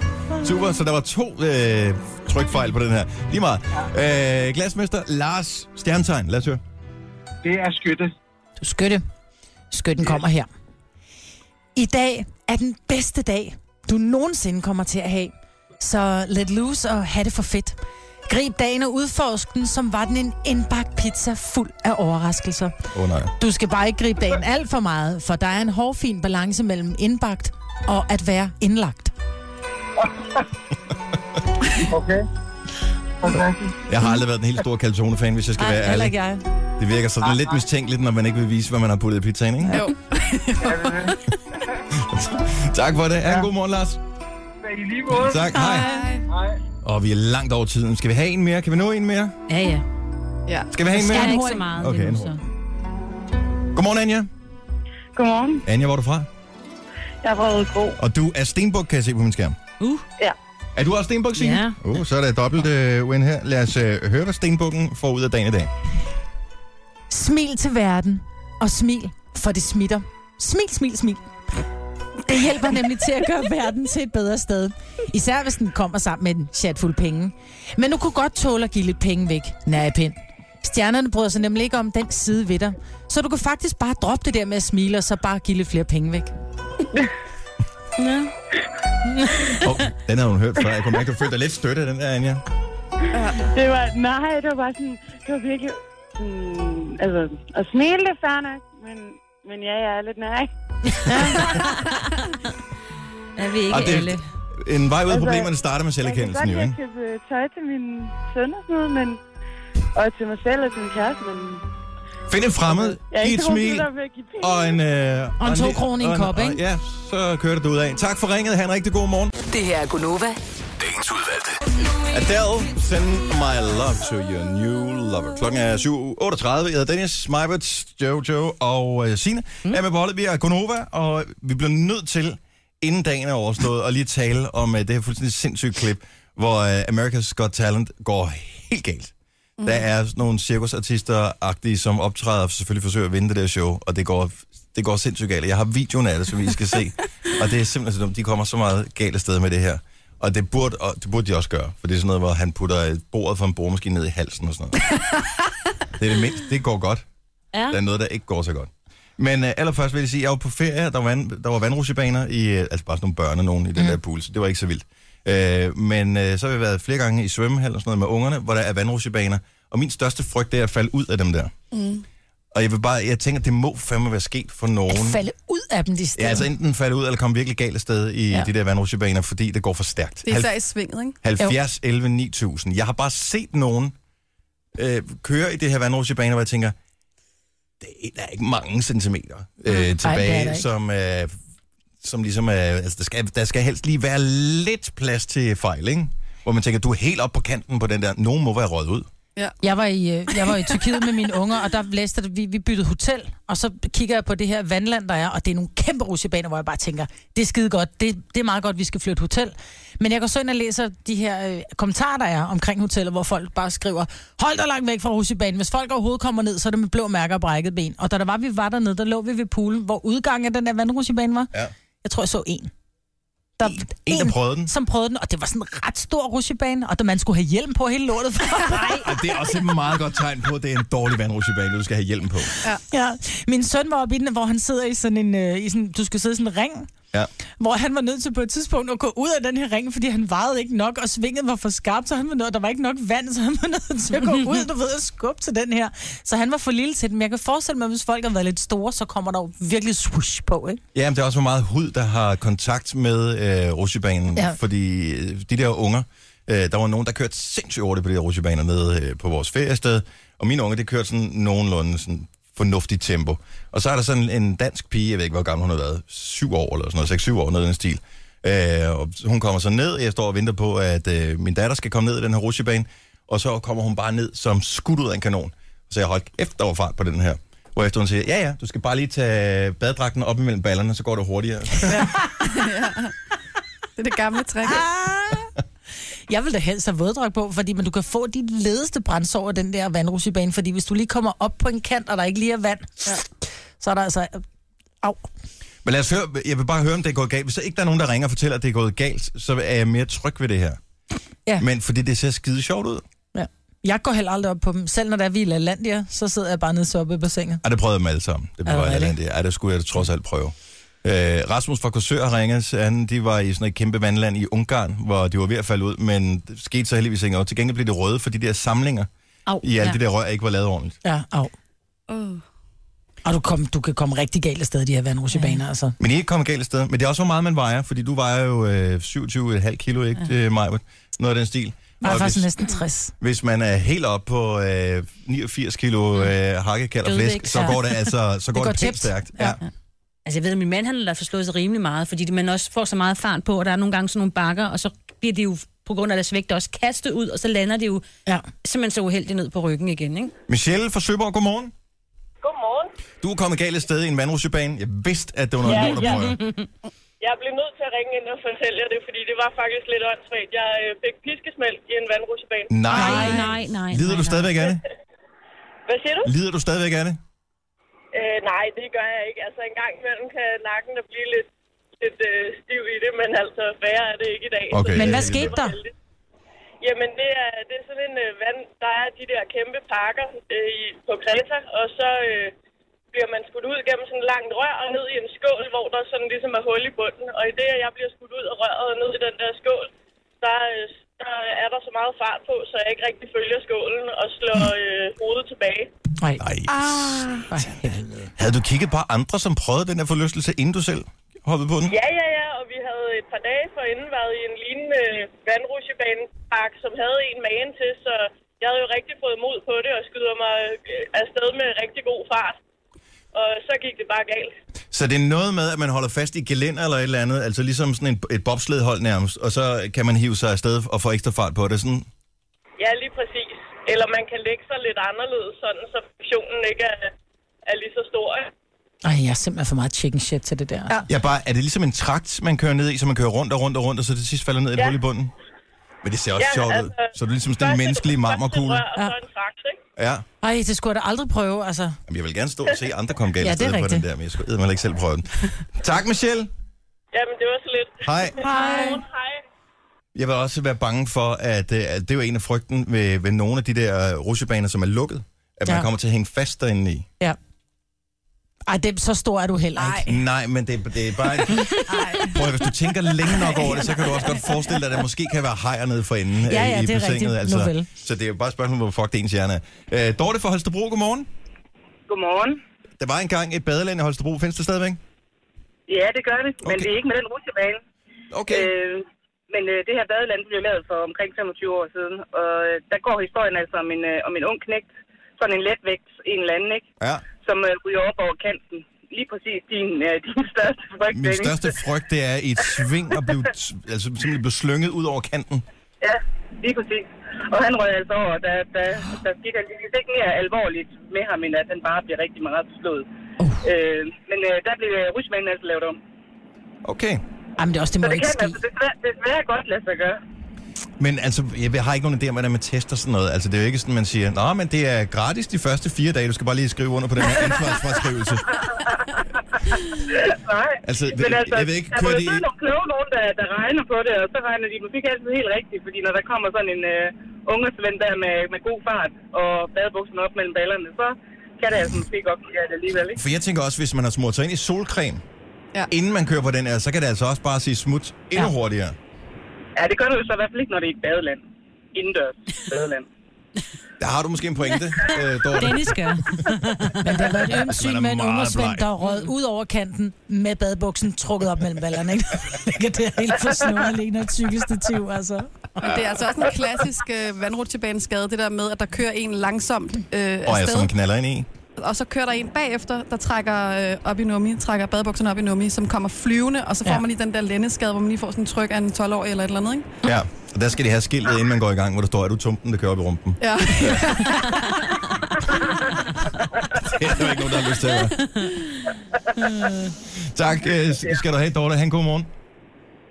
[SPEAKER 1] Super, så der var to øh, trykfejl på den her. Lige meget. Øh, glasmester Lars Stjerntegn. Lad os høre.
[SPEAKER 8] Det er skytte.
[SPEAKER 2] Du skytte. Skytten kommer her. I dag er den bedste dag, du nogensinde kommer til at have. Så let loose og have det for fedt. Grib dagen og udforsk den, som var den en indbagt pizza fuld af overraskelser.
[SPEAKER 1] Åh oh, nej.
[SPEAKER 2] Du skal bare ikke gribe dagen alt for meget, for der er en hårfin balance mellem indbagt og at være indlagt.
[SPEAKER 8] Okay. Fantastisk.
[SPEAKER 1] Jeg har aldrig været den helt store calzone-fan, hvis jeg skal være ærlig.
[SPEAKER 2] jeg.
[SPEAKER 1] Det virker sådan lidt mistænkeligt, når man ikke vil vise, hvad man har puttet i pizzaen, ikke?
[SPEAKER 3] Jo.
[SPEAKER 8] Er det det?
[SPEAKER 1] Tak for det. Ha' en god morgen, Lars.
[SPEAKER 8] Ja, I lige måde.
[SPEAKER 1] Tak. Hej.
[SPEAKER 3] Hej.
[SPEAKER 8] Hej.
[SPEAKER 1] Og vi er langt over tiden. Skal vi have en mere? Kan vi nå en mere?
[SPEAKER 4] Ja, ja.
[SPEAKER 3] Ja.
[SPEAKER 1] Skal vi have en
[SPEAKER 4] Jeg er
[SPEAKER 1] mere?
[SPEAKER 4] ikke så meget.
[SPEAKER 1] Okay,
[SPEAKER 4] Okay,
[SPEAKER 1] en
[SPEAKER 4] nu, så.
[SPEAKER 1] hurtig. Godmorgen, Anja.
[SPEAKER 6] Godmorgen.
[SPEAKER 1] Anja, hvor er du fra?
[SPEAKER 6] Jeg er røget god.
[SPEAKER 1] Og du er Stenbuk, kan jeg se på min skærm.
[SPEAKER 4] Uh,
[SPEAKER 1] Er du også Stenbuk, Signe?
[SPEAKER 4] Ja.
[SPEAKER 1] Uh, så er der dobbelt øh, win her. Lad os øh, høre, hvad Stenbukken får ud af dagen i dag.
[SPEAKER 2] Smil til verden, og smil, for det smitter. Smil, smil, smil. Det hjælper nemlig til at gøre verden til et bedre sted. Især hvis den kommer sammen med en chat fuld penge. Men nu kunne godt tåle at give lidt penge væk, nær i pind. Stjernerne bryder sig nemlig ikke om den side ved dig. Så du kan faktisk bare droppe det der med at smile, og så bare give lidt flere penge væk.
[SPEAKER 1] Oh, den havde hun hørt før. Jeg kunne mærke, du følte dig lidt støtte af den der, Anja.
[SPEAKER 6] Det var, nej, det var bare sådan, det var virkelig, mm, altså, at smile det er fair nok, men, men ja, jeg er lidt nej.
[SPEAKER 4] er vi ikke
[SPEAKER 1] Og det-
[SPEAKER 4] alle.
[SPEAKER 1] En vej ud af
[SPEAKER 6] Altså,
[SPEAKER 1] problemerne starter med
[SPEAKER 6] Jeg kan godt
[SPEAKER 1] selverkendelsen, jo,
[SPEAKER 6] lide
[SPEAKER 1] ikke?
[SPEAKER 6] at købe øh, tøj til min søn og sådan noget, men, og til mig selv og til min kæreste, men
[SPEAKER 1] Find en fremmed,
[SPEAKER 6] jeg er
[SPEAKER 1] giv
[SPEAKER 6] ikke
[SPEAKER 1] et
[SPEAKER 6] så god
[SPEAKER 1] smil,
[SPEAKER 6] til at være give penge.
[SPEAKER 1] og en... Øh,
[SPEAKER 2] Og en to
[SPEAKER 1] lille-
[SPEAKER 2] kroner i en
[SPEAKER 1] og
[SPEAKER 2] kop,
[SPEAKER 1] og-
[SPEAKER 2] ikke?
[SPEAKER 1] Ja, så kører det ud af. Tak for ringet. Ha' en rigtig god morgen.
[SPEAKER 5] Det her er Gunova.
[SPEAKER 7] Dagens udvalgte.
[SPEAKER 1] Adele, send my love to your new lover. Klokken er 7.38. Jeg hedder Dennis, Majbert, Jojo og øh, Signe. Mm. Er med på holdet. Vi er Gonova, og vi bliver nødt til, inden dagen er overstået, at lige tale om øh, det her fuldstændig sindssyge klip, hvor øh, America's Got Talent går helt galt. Mm. Der er sådan nogle cirkusartister-agtige, som optræder og selvfølgelig forsøger at vinde det der show, og det går, det går sindssygt galt. Jeg har videoen af det, som I skal se, og det er simpelthen så dumt. De kommer så meget galt afsted med det her. Og det burde, og det burde de også gøre, for det er sådan noget, hvor han putter øh, bordet fra en boremaskine ned i halsen og sådan noget. det er det mindste. Det går godt.
[SPEAKER 4] Ja.
[SPEAKER 1] Der er noget, der ikke går så godt. Men øh, allerførst vil jeg sige, at jeg var på ferie, der var, vand, der var vandrutsjebaner i, øh, altså bare sådan nogle børne nogen i den der pool, så det var ikke så vildt. Øh, men øh, så har vi været flere gange i svømmehal og sådan noget med ungerne, hvor der er vandrutsjebaner, og min største frygt det er at falde ud af dem der. Mm. Og jeg vil bare, jeg tænker, det må fandme være sket for nogen.
[SPEAKER 2] At falde ud af dem, de steder.
[SPEAKER 1] Ja, altså enten falde ud eller komme virkelig galt afsted i ja.
[SPEAKER 2] Ja.
[SPEAKER 1] de der vandrutsjebaner, fordi det går for stærkt.
[SPEAKER 3] Det er især i svinget, ikke?
[SPEAKER 1] 70, 11, 9000. Jeg har bare set nogen øh, køre i det her vandrutsjebane, hvor jeg tænker, det er, der er ikke mange centimeter øh,
[SPEAKER 2] Ej, det er
[SPEAKER 1] tilbage,
[SPEAKER 2] der
[SPEAKER 1] Ej,
[SPEAKER 2] ikke.
[SPEAKER 1] som, øh, som ligesom er... Altså, der skal, der skal helst lige være lidt plads til fejl, ikke? Hvor man tænker, du er helt oppe på kanten på den der. Nogen må være røget ud.
[SPEAKER 2] Jeg var, i, øh, jeg var i Tyrkiet med mine unger, og der læste det, vi, vi byttede hotel, og så kigger jeg på det her vandland, der er, og det er nogle kæmpe rusjebaner, hvor jeg bare tænker, det er skide godt, det, det er meget godt, vi skal flytte hotel. Men jeg går så ind og læser de her øh, kommentarer, der er omkring hoteller, hvor folk bare skriver, hold dig langt væk fra rusjebanen, hvis folk overhovedet kommer ned, så er det med blå mærker og brækket ben. Og da der var, vi var dernede, der lå vi ved poolen, hvor udgangen af den der vandrusjebane var.
[SPEAKER 1] Ja.
[SPEAKER 2] Jeg tror, jeg så en. Der, en,
[SPEAKER 1] En, der prøvede den.
[SPEAKER 2] som prøvede den, og det var sådan en ret stor rusjebane, og der man skulle have hjelm på hele lortet. Nej,
[SPEAKER 1] Og det er også et meget godt tegn på, at det er en dårlig vandrutsjebane, du skal have hjelm på.
[SPEAKER 2] Ja, min søn var oppe i den, hvor han sidder i sådan en, øh, i sådan, du skal sidde i sådan en ring,
[SPEAKER 1] Ja.
[SPEAKER 2] hvor han var nødt til på et tidspunkt at gå ud af den her ring, fordi han vejede ikke nok, og svinget var for skarpt, så han var nødt, og der var ikke nok vand, så han var nødt til at gå ud, du ved, og skubbe til den her. Så han var for lille til den, men jeg kan forestille mig, at hvis folk har været lidt store, så kommer der jo virkelig swoosh på, ikke?
[SPEAKER 1] Ja, men det er også, hvor meget hud, der har kontakt med øh, rusjebanen. Ja.
[SPEAKER 2] Ja.
[SPEAKER 1] Fordi øh, de der unger, øh, der var nogen, der kørte sindssygt hurtigt på de der rusjebaner nede øh, på vores feriested. Og mine unger, det kørte sådan nogenlunde sådan fornuftigt tempo. Og så er der sådan en dansk pige, jeg ved ikke, hvor gammel hun har været, syv år eller sådan noget, seks, syv år, noget i den stil. Øh, og hun kommer så ned, jeg står og venter på, at øh, min datter skal komme ned i den her rusjebane, og så kommer hun bare ned som skudt ud af en kanon. Så jeg holdt kæft, der var fart på den her. Hvorefter hun siger, ja ja, du skal bare lige tage baddragten op imellem ballerne, så går det hurtigere.
[SPEAKER 3] Det er det gamle trick.
[SPEAKER 2] Ah. Jeg vil da helst have våddrag på, fordi men du kan få de ledeste brændsår over den der vandrusjebane, fordi hvis du lige kommer op på en kant, og der ikke lige er vand, ja. så er der altså... Au.
[SPEAKER 1] Men lad os høre, jeg vil bare høre, om det er gået galt. Hvis der ikke der er nogen, der ringer og fortæller, at det er gået galt, så er jeg mere tryg ved det her.
[SPEAKER 2] Ja.
[SPEAKER 1] Men fordi det ser skide sjovt ud.
[SPEAKER 2] Ja. Jeg går heller aldrig op på dem. Selv når der er vi i LaLandia, så sidder jeg bare nede så oppe i bassinet.
[SPEAKER 1] Ej, det prøvede jeg dem alle sammen. Det blev
[SPEAKER 2] Er det
[SPEAKER 1] bare
[SPEAKER 2] rigtigt?
[SPEAKER 1] det. Ej, det skulle jeg trods alt prøve. Øh, Rasmus fra Korsør har ringet. Han, de var i sådan et kæmpe vandland i Ungarn, hvor de var ved at falde ud, men det skete så heldigvis ikke noget. Til gengæld blev det røde, for de der samlinger
[SPEAKER 4] Au,
[SPEAKER 1] i alle ja. de der rør ikke var lavet ordentligt.
[SPEAKER 2] Ja, au.
[SPEAKER 3] Oh.
[SPEAKER 2] Og du, kom, du kan komme rigtig galt afsted, de her vandrusjebaner, ja. altså.
[SPEAKER 1] Men I er ikke kommet galt af sted. Men det er også, hvor meget man vejer, fordi du vejer jo øh, 27,5 kilo, ikke, ja. øh, Majbert? Noget af den stil.
[SPEAKER 2] Jeg er
[SPEAKER 1] Og
[SPEAKER 2] faktisk
[SPEAKER 1] hvis,
[SPEAKER 2] næsten 60.
[SPEAKER 1] hvis man er helt oppe på øh, 89 kilo øh, hakkekald og
[SPEAKER 4] Dødvægt,
[SPEAKER 1] flæsk, så
[SPEAKER 4] ja.
[SPEAKER 1] går det altså så går det,
[SPEAKER 2] går
[SPEAKER 1] det pænt
[SPEAKER 2] tæt.
[SPEAKER 1] stærkt. Ja. Ja.
[SPEAKER 4] Altså jeg ved, at min mand han har da forslået sig rimelig meget, fordi man også får så meget fart på, og der er nogle gange sådan nogle bakker, og så bliver det jo på grund af deres vægt også kastet ud, og så lander det jo
[SPEAKER 2] Ja.
[SPEAKER 4] simpelthen så uheldigt ned på ryggen igen, ikke?
[SPEAKER 1] Michelle fra Søborg, godmorgen.
[SPEAKER 6] Godmorgen.
[SPEAKER 1] Du er kommet galt af sted i en vandrutsjebane. Jeg vidste, at det var noget
[SPEAKER 6] Ja,
[SPEAKER 1] ja, lort at
[SPEAKER 6] ja.
[SPEAKER 1] prøve.
[SPEAKER 6] Jeg blev nødt til at ringe ind og fortælle jer det, fordi det var faktisk lidt åndssvagt. Jeg øh, fik piskesmæld i en vandrutsjebane.
[SPEAKER 1] Nej.
[SPEAKER 4] Nej, nej, nej.
[SPEAKER 1] Lider
[SPEAKER 4] nej,
[SPEAKER 1] du
[SPEAKER 4] nej.
[SPEAKER 1] stadigvæk af det?
[SPEAKER 6] Hvad siger du?
[SPEAKER 1] Lider du stadigvæk af det?
[SPEAKER 6] Øh, nej, det gør jeg ikke. Altså, en gang imellem kan nakken da blive lidt, lidt øh, stiv i det, men altså, værre er det ikke i dag.
[SPEAKER 1] Okay.
[SPEAKER 2] Men
[SPEAKER 1] Ja,
[SPEAKER 2] hvad
[SPEAKER 1] det
[SPEAKER 2] skete
[SPEAKER 6] var
[SPEAKER 2] der?
[SPEAKER 6] heldigt. Jamen, det er, det er sådan en øh, vand. Der er de der kæmpe pakker øh, i, på Kreta, og så øh, bliver man skudt ud gennem sådan et langt rør og ned i en skål, hvor der sådan ligesom er hul i bunden. Og i det, at jeg bliver skudt ud af røret og ned i den der skål, der, øh, der er der så meget fart på, så jeg ikke rigtig følger skålen og slår øh, hovedet tilbage.
[SPEAKER 2] Nej.
[SPEAKER 1] Nej.
[SPEAKER 2] for helvede.
[SPEAKER 1] Havde du kigget på andre, som prøvede den her forlystelse, inden du selv hoppede på den?
[SPEAKER 6] Ja, ja, ja, og vi havde et par dage forinden været i en lignende vandrutsjebanepark, som havde en magen til, så jeg havde jo rigtig fået mod på det og skyder mig øh, afsted med rigtig god fart. Og så gik det bare galt.
[SPEAKER 1] Så det er noget med, at man holder fast i gelænder eller et eller andet, altså ligesom sådan en, et bobsledhold nærmest, og så kan man hive sig afsted og få ekstra fart på det. Sådan,
[SPEAKER 6] Ja, lige præcis. Eller man kan lægge sig lidt anderledes, sådan så funktionen ikke er, er lige så stor. ikke?
[SPEAKER 2] Ej, jeg er simpelthen for meget chicken shit til det der. altså. Ja.
[SPEAKER 1] ja, bare, er det ligesom en trakt, man kører ned i, så man kører rundt og rundt og rundt, og så til sidst falder ned i et
[SPEAKER 6] Ja.
[SPEAKER 1] hul i bunden? Men det ser også
[SPEAKER 6] Ja,
[SPEAKER 1] sjovt ud.
[SPEAKER 6] altså,
[SPEAKER 1] Så er du ligesom sådan en
[SPEAKER 6] Først et-
[SPEAKER 1] menneskelig
[SPEAKER 6] først et
[SPEAKER 1] marmorkugle.
[SPEAKER 6] rør, Og så en trakt, ikke?
[SPEAKER 1] Ja.
[SPEAKER 2] Ej, det skulle jeg da aldrig prøve, altså.
[SPEAKER 1] Jamen, jeg vil gerne stå og se andre komme galt
[SPEAKER 2] Ja,
[SPEAKER 1] ja,
[SPEAKER 2] det er
[SPEAKER 1] på den
[SPEAKER 2] rigtigt.
[SPEAKER 1] der, men jeg skulle eddermame ikke selv prøve den. Tak, Michelle.
[SPEAKER 6] Jamen, det var så lidt.
[SPEAKER 1] Hej.
[SPEAKER 2] Hej.
[SPEAKER 6] Hej.
[SPEAKER 1] Jeg vil også være bange for, at, øh, at det er jo en af frygten ved, ved nogle af de der øh, rutsjebaner, som er lukket, at man
[SPEAKER 2] Ja.
[SPEAKER 1] kommer til at hænge fast derinde i.
[SPEAKER 2] Ja. Ej, det, så stor er du heller ikke.
[SPEAKER 3] Nej.
[SPEAKER 1] Nej, men det, det er bare...
[SPEAKER 3] Nej.
[SPEAKER 1] Prøv at, hvis du tænker længe nok over det, så kan du også godt forestille dig, at der måske kan være hajer nede for enden
[SPEAKER 2] Ja, ja,
[SPEAKER 1] øh, i
[SPEAKER 2] det er
[SPEAKER 1] bassinet.
[SPEAKER 2] rigtigt.
[SPEAKER 1] Altså.
[SPEAKER 2] Nuvel.
[SPEAKER 1] Så det er jo bare et spørgsmål, hvor fuck det ens hjerne er. Øh, Dorte fra Holstebro, godmorgen.
[SPEAKER 6] Godmorgen.
[SPEAKER 1] Der var engang et badeland i Holstebro. Findes det stadigvæk?
[SPEAKER 6] Ja, det gør det, men
[SPEAKER 1] Okay.
[SPEAKER 6] det er ikke med den rutsjebane.
[SPEAKER 1] Okay.
[SPEAKER 6] Øh, men øh, det her badeland blev lavet for omkring 25 år siden, og øh, der går historien altså om en, øh, om en ung knægt, sådan en letvægt, en eller anden, ikke?
[SPEAKER 1] Ja.
[SPEAKER 6] som øh, ryger op over kanten. Lige præcis din, øh, din største frygt.
[SPEAKER 1] Min
[SPEAKER 6] Dennis.
[SPEAKER 1] største frygt, det er i et sving at blive, t- altså, simpelthen blive slynget ud over kanten.
[SPEAKER 6] Ja, lige præcis. Og han røg altså over, der, der, der gik han lige ikke mere alvorligt med ham, end at han bare blev rigtig meget slået. Uh. Øh, men øh, der blev øh, rutsjemanden altså lavet om.
[SPEAKER 1] Okay.
[SPEAKER 2] Jamen, det, er også, det
[SPEAKER 6] Så
[SPEAKER 2] må
[SPEAKER 6] det
[SPEAKER 2] ikke
[SPEAKER 6] kan
[SPEAKER 2] ske.
[SPEAKER 6] altså desværre, desværre godt lade sig gøre.
[SPEAKER 1] Men altså, jeg har ikke nogen idé om, hvordan man tester sådan noget. Altså, det er jo ikke sådan, man siger, Nå, men det er gratis de første fire dage. Du skal bare lige skrive under på den her ansvarsfraskrivelse.
[SPEAKER 6] Nej,
[SPEAKER 1] Altså,
[SPEAKER 6] men
[SPEAKER 1] det-
[SPEAKER 6] altså,
[SPEAKER 1] jeg ved ikke,
[SPEAKER 6] der må
[SPEAKER 1] kører
[SPEAKER 6] jo
[SPEAKER 1] de
[SPEAKER 6] sidde
[SPEAKER 1] ikke-
[SPEAKER 6] nogle kloge nogen, der, der regner på det, og så regner de måske ikke altid helt rigtigt, fordi når der kommer sådan en øh, ungesvend der med, med god fart og badebuksen op mellem ballerne, så kan det altså måske godt blive det alligevel, ikke?
[SPEAKER 1] For jeg tænker også, hvis man har smurt sig ind i solcreme, ja.
[SPEAKER 3] Ja.
[SPEAKER 1] inden man kører på den her, så kan det altså også bare sige smut endnu ja. hurtigere.
[SPEAKER 6] Ja, det gør du jo så i hvert fald ikke, når det er et badeland. Indendørs badeland.
[SPEAKER 1] Der har du måske en pointe, øh, Dorte.
[SPEAKER 4] Dennis gør.
[SPEAKER 2] Men det var et ømt
[SPEAKER 1] Man er
[SPEAKER 2] syn med en
[SPEAKER 1] meget
[SPEAKER 2] ungersvend,
[SPEAKER 1] bleg.
[SPEAKER 2] der rød ud over kanten med badebuksen trukket op mellem ballerne. Ikke? Ligger der helt for snor ligner et cykelstativ, altså.
[SPEAKER 3] Men det er altså også en klassisk øh, vandrutsjebaneskade, det der med, at der kører en langsomt øh,
[SPEAKER 1] Og jeg som
[SPEAKER 3] afsted,
[SPEAKER 1] knaller ind i.
[SPEAKER 3] og så kører der en bagefter, der trækker øh, op i nummi, trækker badebukserne op i nummi, som kommer flyvende, og så får
[SPEAKER 2] Ja.
[SPEAKER 3] ja. man lige den der lændeskade, hvor man lige får sådan en tryk af en 12-årig eller et eller andet, ikke?
[SPEAKER 1] Ja, og der skal de have skiltet, inden man går i gang, hvor der står, er du tumpen, der kører op i rumpen.
[SPEAKER 3] Ja.
[SPEAKER 1] Det er der ikke nogen, der har lyst til at gøre. Tak øh, skal du have, Dorte. Han god morgen.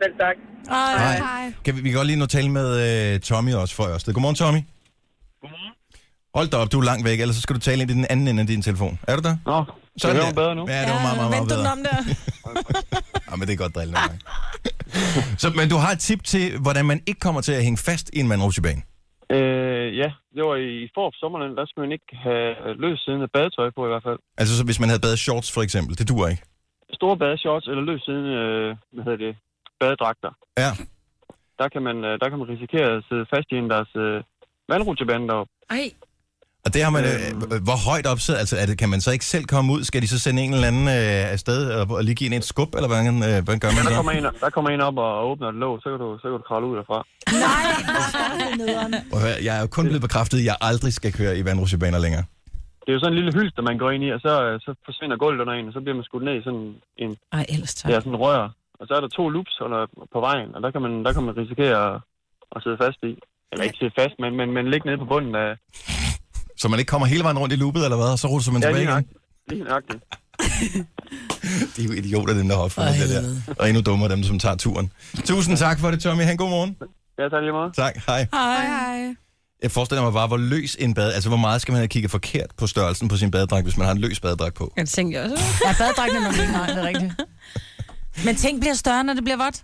[SPEAKER 6] Selv tak.
[SPEAKER 1] Hej.
[SPEAKER 3] Hej.
[SPEAKER 1] Kan vi, vi kan godt lige nå at tale med øh, Tommy også for Ørsted. Godmorgen, Tommy. Godmorgen. Hold da op, du er langt væk, ellers så skal du tale ind i den anden ende af din telefon. Er du der?
[SPEAKER 8] Nå, så
[SPEAKER 1] Sådan der.
[SPEAKER 8] hører hun bedre nu.
[SPEAKER 1] Ja, det var meget, meget, meget
[SPEAKER 2] vent du den
[SPEAKER 1] bedre.
[SPEAKER 2] om der.
[SPEAKER 1] Ja, men det er godt drille nogle gange. Så, men du har et tip til, hvordan man ikke kommer til at hænge fast i en mandrupsjebane.
[SPEAKER 8] Øh, ja, det var i Forop Sommerland, der skulle man ikke have løs siden af badetøj på i hvert fald.
[SPEAKER 1] Altså så hvis man havde badet shorts for eksempel, det duer ikke.
[SPEAKER 8] Store badeshorts eller løs siden, øh, hvad hedder det, badedragter.
[SPEAKER 1] Ja,
[SPEAKER 8] Der kan man, øh, der kan man risikere at sidde fast i en deres øh, vandrutsjebane deroppe.
[SPEAKER 4] Ej,
[SPEAKER 1] og det har man, øh, øh, hvor højt opsat, altså er det, kan man så ikke selv komme ud? Skal de så sende en eller anden øh, afsted og, og lige give en et skub, eller hvordan, øh, hvordan gør man
[SPEAKER 8] Der
[SPEAKER 1] det?
[SPEAKER 8] kommer en, der kommer en op og åbner et låg, så kan du, så kan du kravle ud derfra.
[SPEAKER 2] Nej, hvor er det nederen.
[SPEAKER 1] Prøv at høre, Jeg er jo kun blevet bekræftet, at jeg aldrig skal køre i vandrutsjebaner længere.
[SPEAKER 8] Det er jo sådan en lille hylster, man går ind i, og så, øh, så forsvinder gulvet under en, og så bliver man skudt ned i sådan en
[SPEAKER 4] ej ellers tak.
[SPEAKER 8] ja, sådan en rør. Og så er der to loops under, på vejen, og der kan man, der kan man risikere at, at sidde fast i. Eller ikke sidde fast, men, men, men ligge nede på bunden af...
[SPEAKER 1] Så man ikke kommer hele vejen rundt i loopet, eller hvad, og så ruller man
[SPEAKER 8] Ja,
[SPEAKER 1] tilbage
[SPEAKER 8] lige
[SPEAKER 1] igen.
[SPEAKER 8] nok. Lige nøjagtigt.
[SPEAKER 1] De er jo idioter, dem der har opfundet det der. Og endnu dummere dem, som tager turen. Tusind tak for det, Tommy. Han god morgen.
[SPEAKER 8] Ja, tak lige meget.
[SPEAKER 1] Tak, hej.
[SPEAKER 3] Hej, hej.
[SPEAKER 1] Jeg forestiller mig bare, hvor løs en bad... Altså, hvor meget skal man have kigget forkert på størrelsen på sin badedragt, hvis man har en løs badedragt på?
[SPEAKER 4] Jeg tænkte også.
[SPEAKER 2] Ja, badedragten er nok ikke nej, det er rigtigt. Men ting bliver større, når det bliver vådt.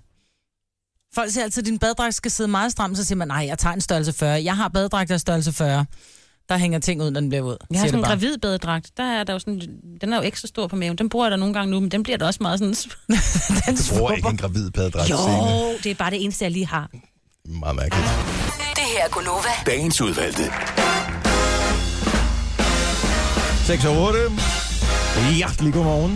[SPEAKER 2] Folk siger altid, at din badedragt skal sidde meget stramt, så siger man, nej, jeg tager en størrelse 40. Jeg har badedragt af størrelse 40. Der hænger ting ud, når den bliver våd.
[SPEAKER 4] Jeg har
[SPEAKER 2] siger
[SPEAKER 4] sådan
[SPEAKER 2] det
[SPEAKER 4] en
[SPEAKER 2] bare.
[SPEAKER 4] gravid badedragt. Der er der jo sådan, den er jo ekstra stor på maven. Den bruger jeg da nogle gange nu, men den bliver da også meget sådan...
[SPEAKER 2] Den
[SPEAKER 1] Jeg tror ikke en gravid badedragt. Signe.
[SPEAKER 4] det er bare det eneste, jeg lige har.
[SPEAKER 1] Meget mærkeligt.
[SPEAKER 5] Det her er Gunova.
[SPEAKER 7] Dagens udvalgte.
[SPEAKER 1] 6 og 8. Hjertelig godmorgen.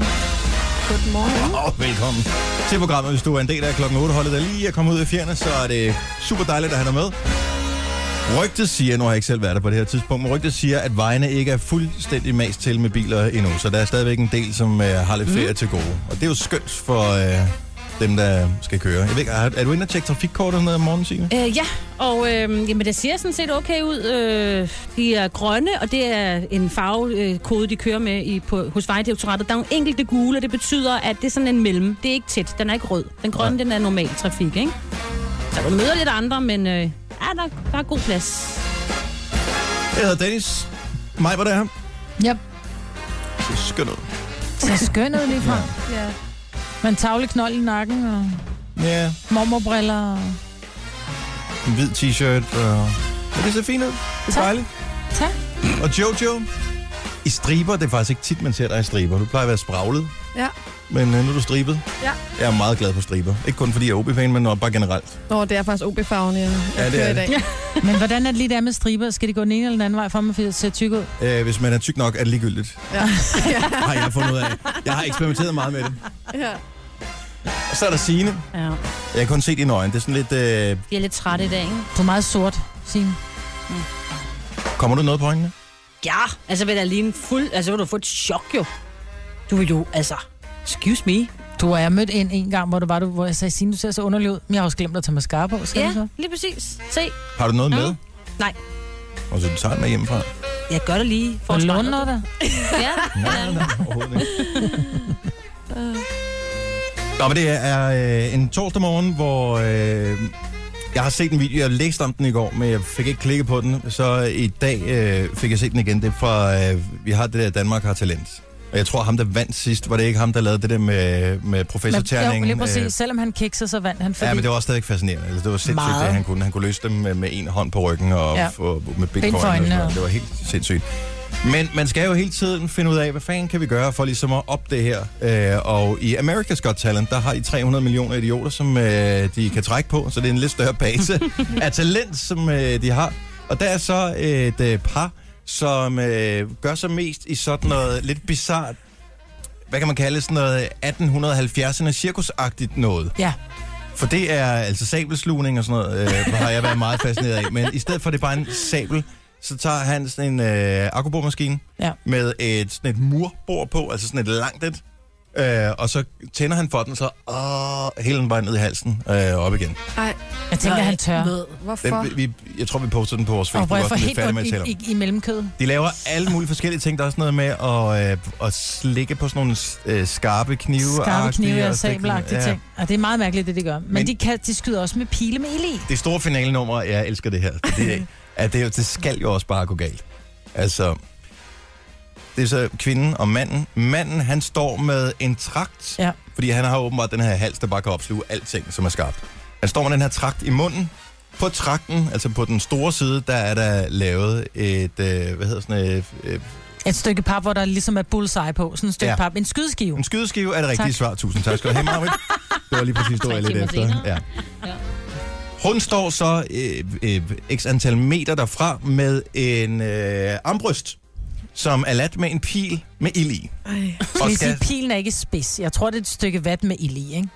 [SPEAKER 3] Godmorgen.
[SPEAKER 1] Og velkommen til programmet. Hvis du er en del af klokken 8 holdet, der lige er kommet ud af fjerne, så er det super dejligt at have dig med. Rygtet siger, nu har jeg ikke selv været der på det her tidspunkt, men rygtet siger, at vejene ikke er fuldstændig mast til med biler endnu, så der er stadigvæk en del, som øh, har lidt ferie til gode. Og det er jo skønt for øh, dem, der skal køre. Jeg ved ikke, er, er du inde og tjekke trafikkortet sådan noget om morgenen, Signe?
[SPEAKER 4] Øh, ja, og øh, jamen, det ser sådan set okay ud. Øh, de er grønne, og det er en farvekode, øh, kode, de kører med i, på, hos Vejdirektoratet. Der er nogle enkelte gule, og det betyder, at det er sådan en mellem. Det er ikke tæt, den er ikke rød. Den grønne, den er normal trafik, ikke? Så du møder lidt andre, men øh, ja, der, der er god plads.
[SPEAKER 1] Jeg hedder Dennis. Mig var der her.
[SPEAKER 2] Yep.
[SPEAKER 1] Det er skønt ud.
[SPEAKER 2] Så skøn ud lige fra. Ja. Man tavle knold i nakken, og
[SPEAKER 1] Ja,
[SPEAKER 2] mormorbriller. Og...
[SPEAKER 1] en hvid t-shirt. Og... Men det ser fint ud. Det er
[SPEAKER 2] Tak.
[SPEAKER 1] dejligt.
[SPEAKER 2] Tak.
[SPEAKER 1] Og Jojo, I striber, det er faktisk ikke tit, man ser dig i striber. Du plejer at være spraglet,
[SPEAKER 3] Ja.
[SPEAKER 1] men øh, nu er du stribet.
[SPEAKER 3] Ja.
[SPEAKER 1] Jeg er meget glad for striber. Ikke kun fordi jeg er OB-fan, men også bare generelt.
[SPEAKER 3] Nå, det er faktisk OB-farven, jeg, jeg
[SPEAKER 1] Ja, det
[SPEAKER 3] kører
[SPEAKER 1] er
[SPEAKER 3] i dag. Ja.
[SPEAKER 2] Men hvordan er det lige der med striber? Skal det gå den ene eller den anden vej for mig, for at se tyk ud?
[SPEAKER 1] Øh, hvis man er tyk nok, er det ligegyldigt.
[SPEAKER 3] Ja.
[SPEAKER 1] Har jeg fundet ud af. Jeg har eksperimenteret meget med det.
[SPEAKER 3] ja.
[SPEAKER 1] Og så er der Signe.
[SPEAKER 4] Ja.
[SPEAKER 1] Jeg kan kun se dine øjne. Det er sådan lidt... Øh,
[SPEAKER 4] De er lidt trætte i dag, ikke?
[SPEAKER 2] Du er meget sort, Signe.
[SPEAKER 1] kommer du noget på øjnene?
[SPEAKER 4] Ja, altså vil der lige en fuld... Altså vil du få et chok jo. Du vil jo, altså... Excuse me.
[SPEAKER 2] Du og jeg mødte en en gang, hvor, du var, du, hvor jeg sagde, Signe, du ser så underlig ud, men jeg har også glemt at tage mascara på. Skal ja. så?
[SPEAKER 4] lige præcis. Se.
[SPEAKER 1] Har du noget
[SPEAKER 4] Nå.
[SPEAKER 3] Mm.
[SPEAKER 1] med?
[SPEAKER 4] Nej,
[SPEAKER 1] Og så du tager den med hjemmefra? Nej,
[SPEAKER 4] jeg gør det lige for
[SPEAKER 2] Og
[SPEAKER 4] at
[SPEAKER 2] låne
[SPEAKER 4] spejle
[SPEAKER 2] noget
[SPEAKER 4] dig.
[SPEAKER 2] der.
[SPEAKER 4] Ja.
[SPEAKER 1] nej, nej, overhovedet ikke. Nå, men det er øh, en torsdag morgen, hvor øh, jeg har set en video. Jeg læste om den i går, men jeg fik ikke klikket på den. Så i dag øh, fik jeg set den igen. Det er fra, øh, vi har det der Danmark har talent. Og jeg tror, ham der vandt sidst, var det ikke ham, der lavede det der med, med
[SPEAKER 2] Men, jo,
[SPEAKER 1] professorterningen?
[SPEAKER 2] lige præcis. Selvom han kiksede, så vandt han, fordi
[SPEAKER 1] Fordi... øh, Ja, men det var også stadig fascinerende. Altså, det var sindssygt,
[SPEAKER 2] Meget.
[SPEAKER 1] Meget. det han kunne. Han kunne løse dem med, med en hånd på ryggen og, ja.
[SPEAKER 2] Ja.
[SPEAKER 1] og med bitcoin.
[SPEAKER 2] for
[SPEAKER 1] Og sådan
[SPEAKER 2] øjnene.
[SPEAKER 1] noget. Det var helt sindssygt. Men man skal jo hele tiden finde ud af, hvad fanden kan vi gøre for ligesom at op det her. Øh, og i America's Got Talent, der har de 300 millioner idioter, som øh, de kan trække på. Så det er en lidt større base af talent, som øh, de har. Og der er så et øh, par, som øh, gør sig mest i sådan noget lidt bizart, hvad kan man kalde det, sådan noget 1870'erne cirkusagtigt noget.
[SPEAKER 2] ja.
[SPEAKER 1] For det er altså sabelslugning og sådan noget, øh, har jeg været meget fascineret af. Men i stedet for, at det er bare en sabel, så tager han sådan en øh, akkubormaskine
[SPEAKER 2] Ja.
[SPEAKER 1] med et, sådan et murbord på, altså sådan et langt et. Øh, og så tænder han for den, så åh, hele den bare ned i halsen øh, op igen.
[SPEAKER 3] Ej,
[SPEAKER 2] Jeg tænker, han tør.
[SPEAKER 3] hvorfor?
[SPEAKER 1] Den, vi, vi- jeg tror, vi poster den på vores
[SPEAKER 2] Og hvor
[SPEAKER 1] Facebook,
[SPEAKER 2] jeg
[SPEAKER 1] også, når vi er
[SPEAKER 2] får
[SPEAKER 1] færdige
[SPEAKER 2] helt
[SPEAKER 1] med at tale
[SPEAKER 2] godt
[SPEAKER 1] om.
[SPEAKER 2] i, i, i mellemkødet.
[SPEAKER 1] De laver alle mulige forskellige ting. Der er også noget med at, øh, at slikke på sådan nogle øh, skarpe knive.
[SPEAKER 2] Skarpe knive og
[SPEAKER 1] stikke-
[SPEAKER 2] sabelagtige
[SPEAKER 1] ja.
[SPEAKER 2] ting. Og det er meget mærkeligt, det de gør. Men,
[SPEAKER 1] Men-
[SPEAKER 2] men de, kan, de skyder også med pile med ild i.
[SPEAKER 1] det store finalenummer, og jeg elsker det her, det, er, at det, er jo- det skal jo også bare gå galt. Altså, det er så kvinden og manden. Manden, han står med en trakt,
[SPEAKER 2] Ja.
[SPEAKER 1] fordi han har åbenbart den her hals, der bare kan opsluge alting, som er skarpt. Han står med den her trakt i munden. På trakten, altså på den store side, der er der lavet et, øh, hvad hedder sådan et, øh,
[SPEAKER 2] Et stykke pap, hvor der ligesom er bullseye på. Sådan et stykke
[SPEAKER 1] Ja. Mm.
[SPEAKER 2] ja. pap. En skydeskive.
[SPEAKER 1] en skydeskive er det rigtige
[SPEAKER 2] Tak.
[SPEAKER 1] svar. Tusind tak skal du have, Marvind. Det var lige præcis, det var jeg lidt
[SPEAKER 4] timer
[SPEAKER 1] efter.
[SPEAKER 4] senere.
[SPEAKER 1] Ja. Hun står så øh, øh, x antal meter derfra med en øh, armbryst, som er ladt med en pil med ild i.
[SPEAKER 3] Ej.
[SPEAKER 2] Jeg
[SPEAKER 1] Og
[SPEAKER 2] vil sige,
[SPEAKER 1] skal,
[SPEAKER 2] pilen er ikke spids. Jeg tror, det er et stykke vat med ild i, ikke?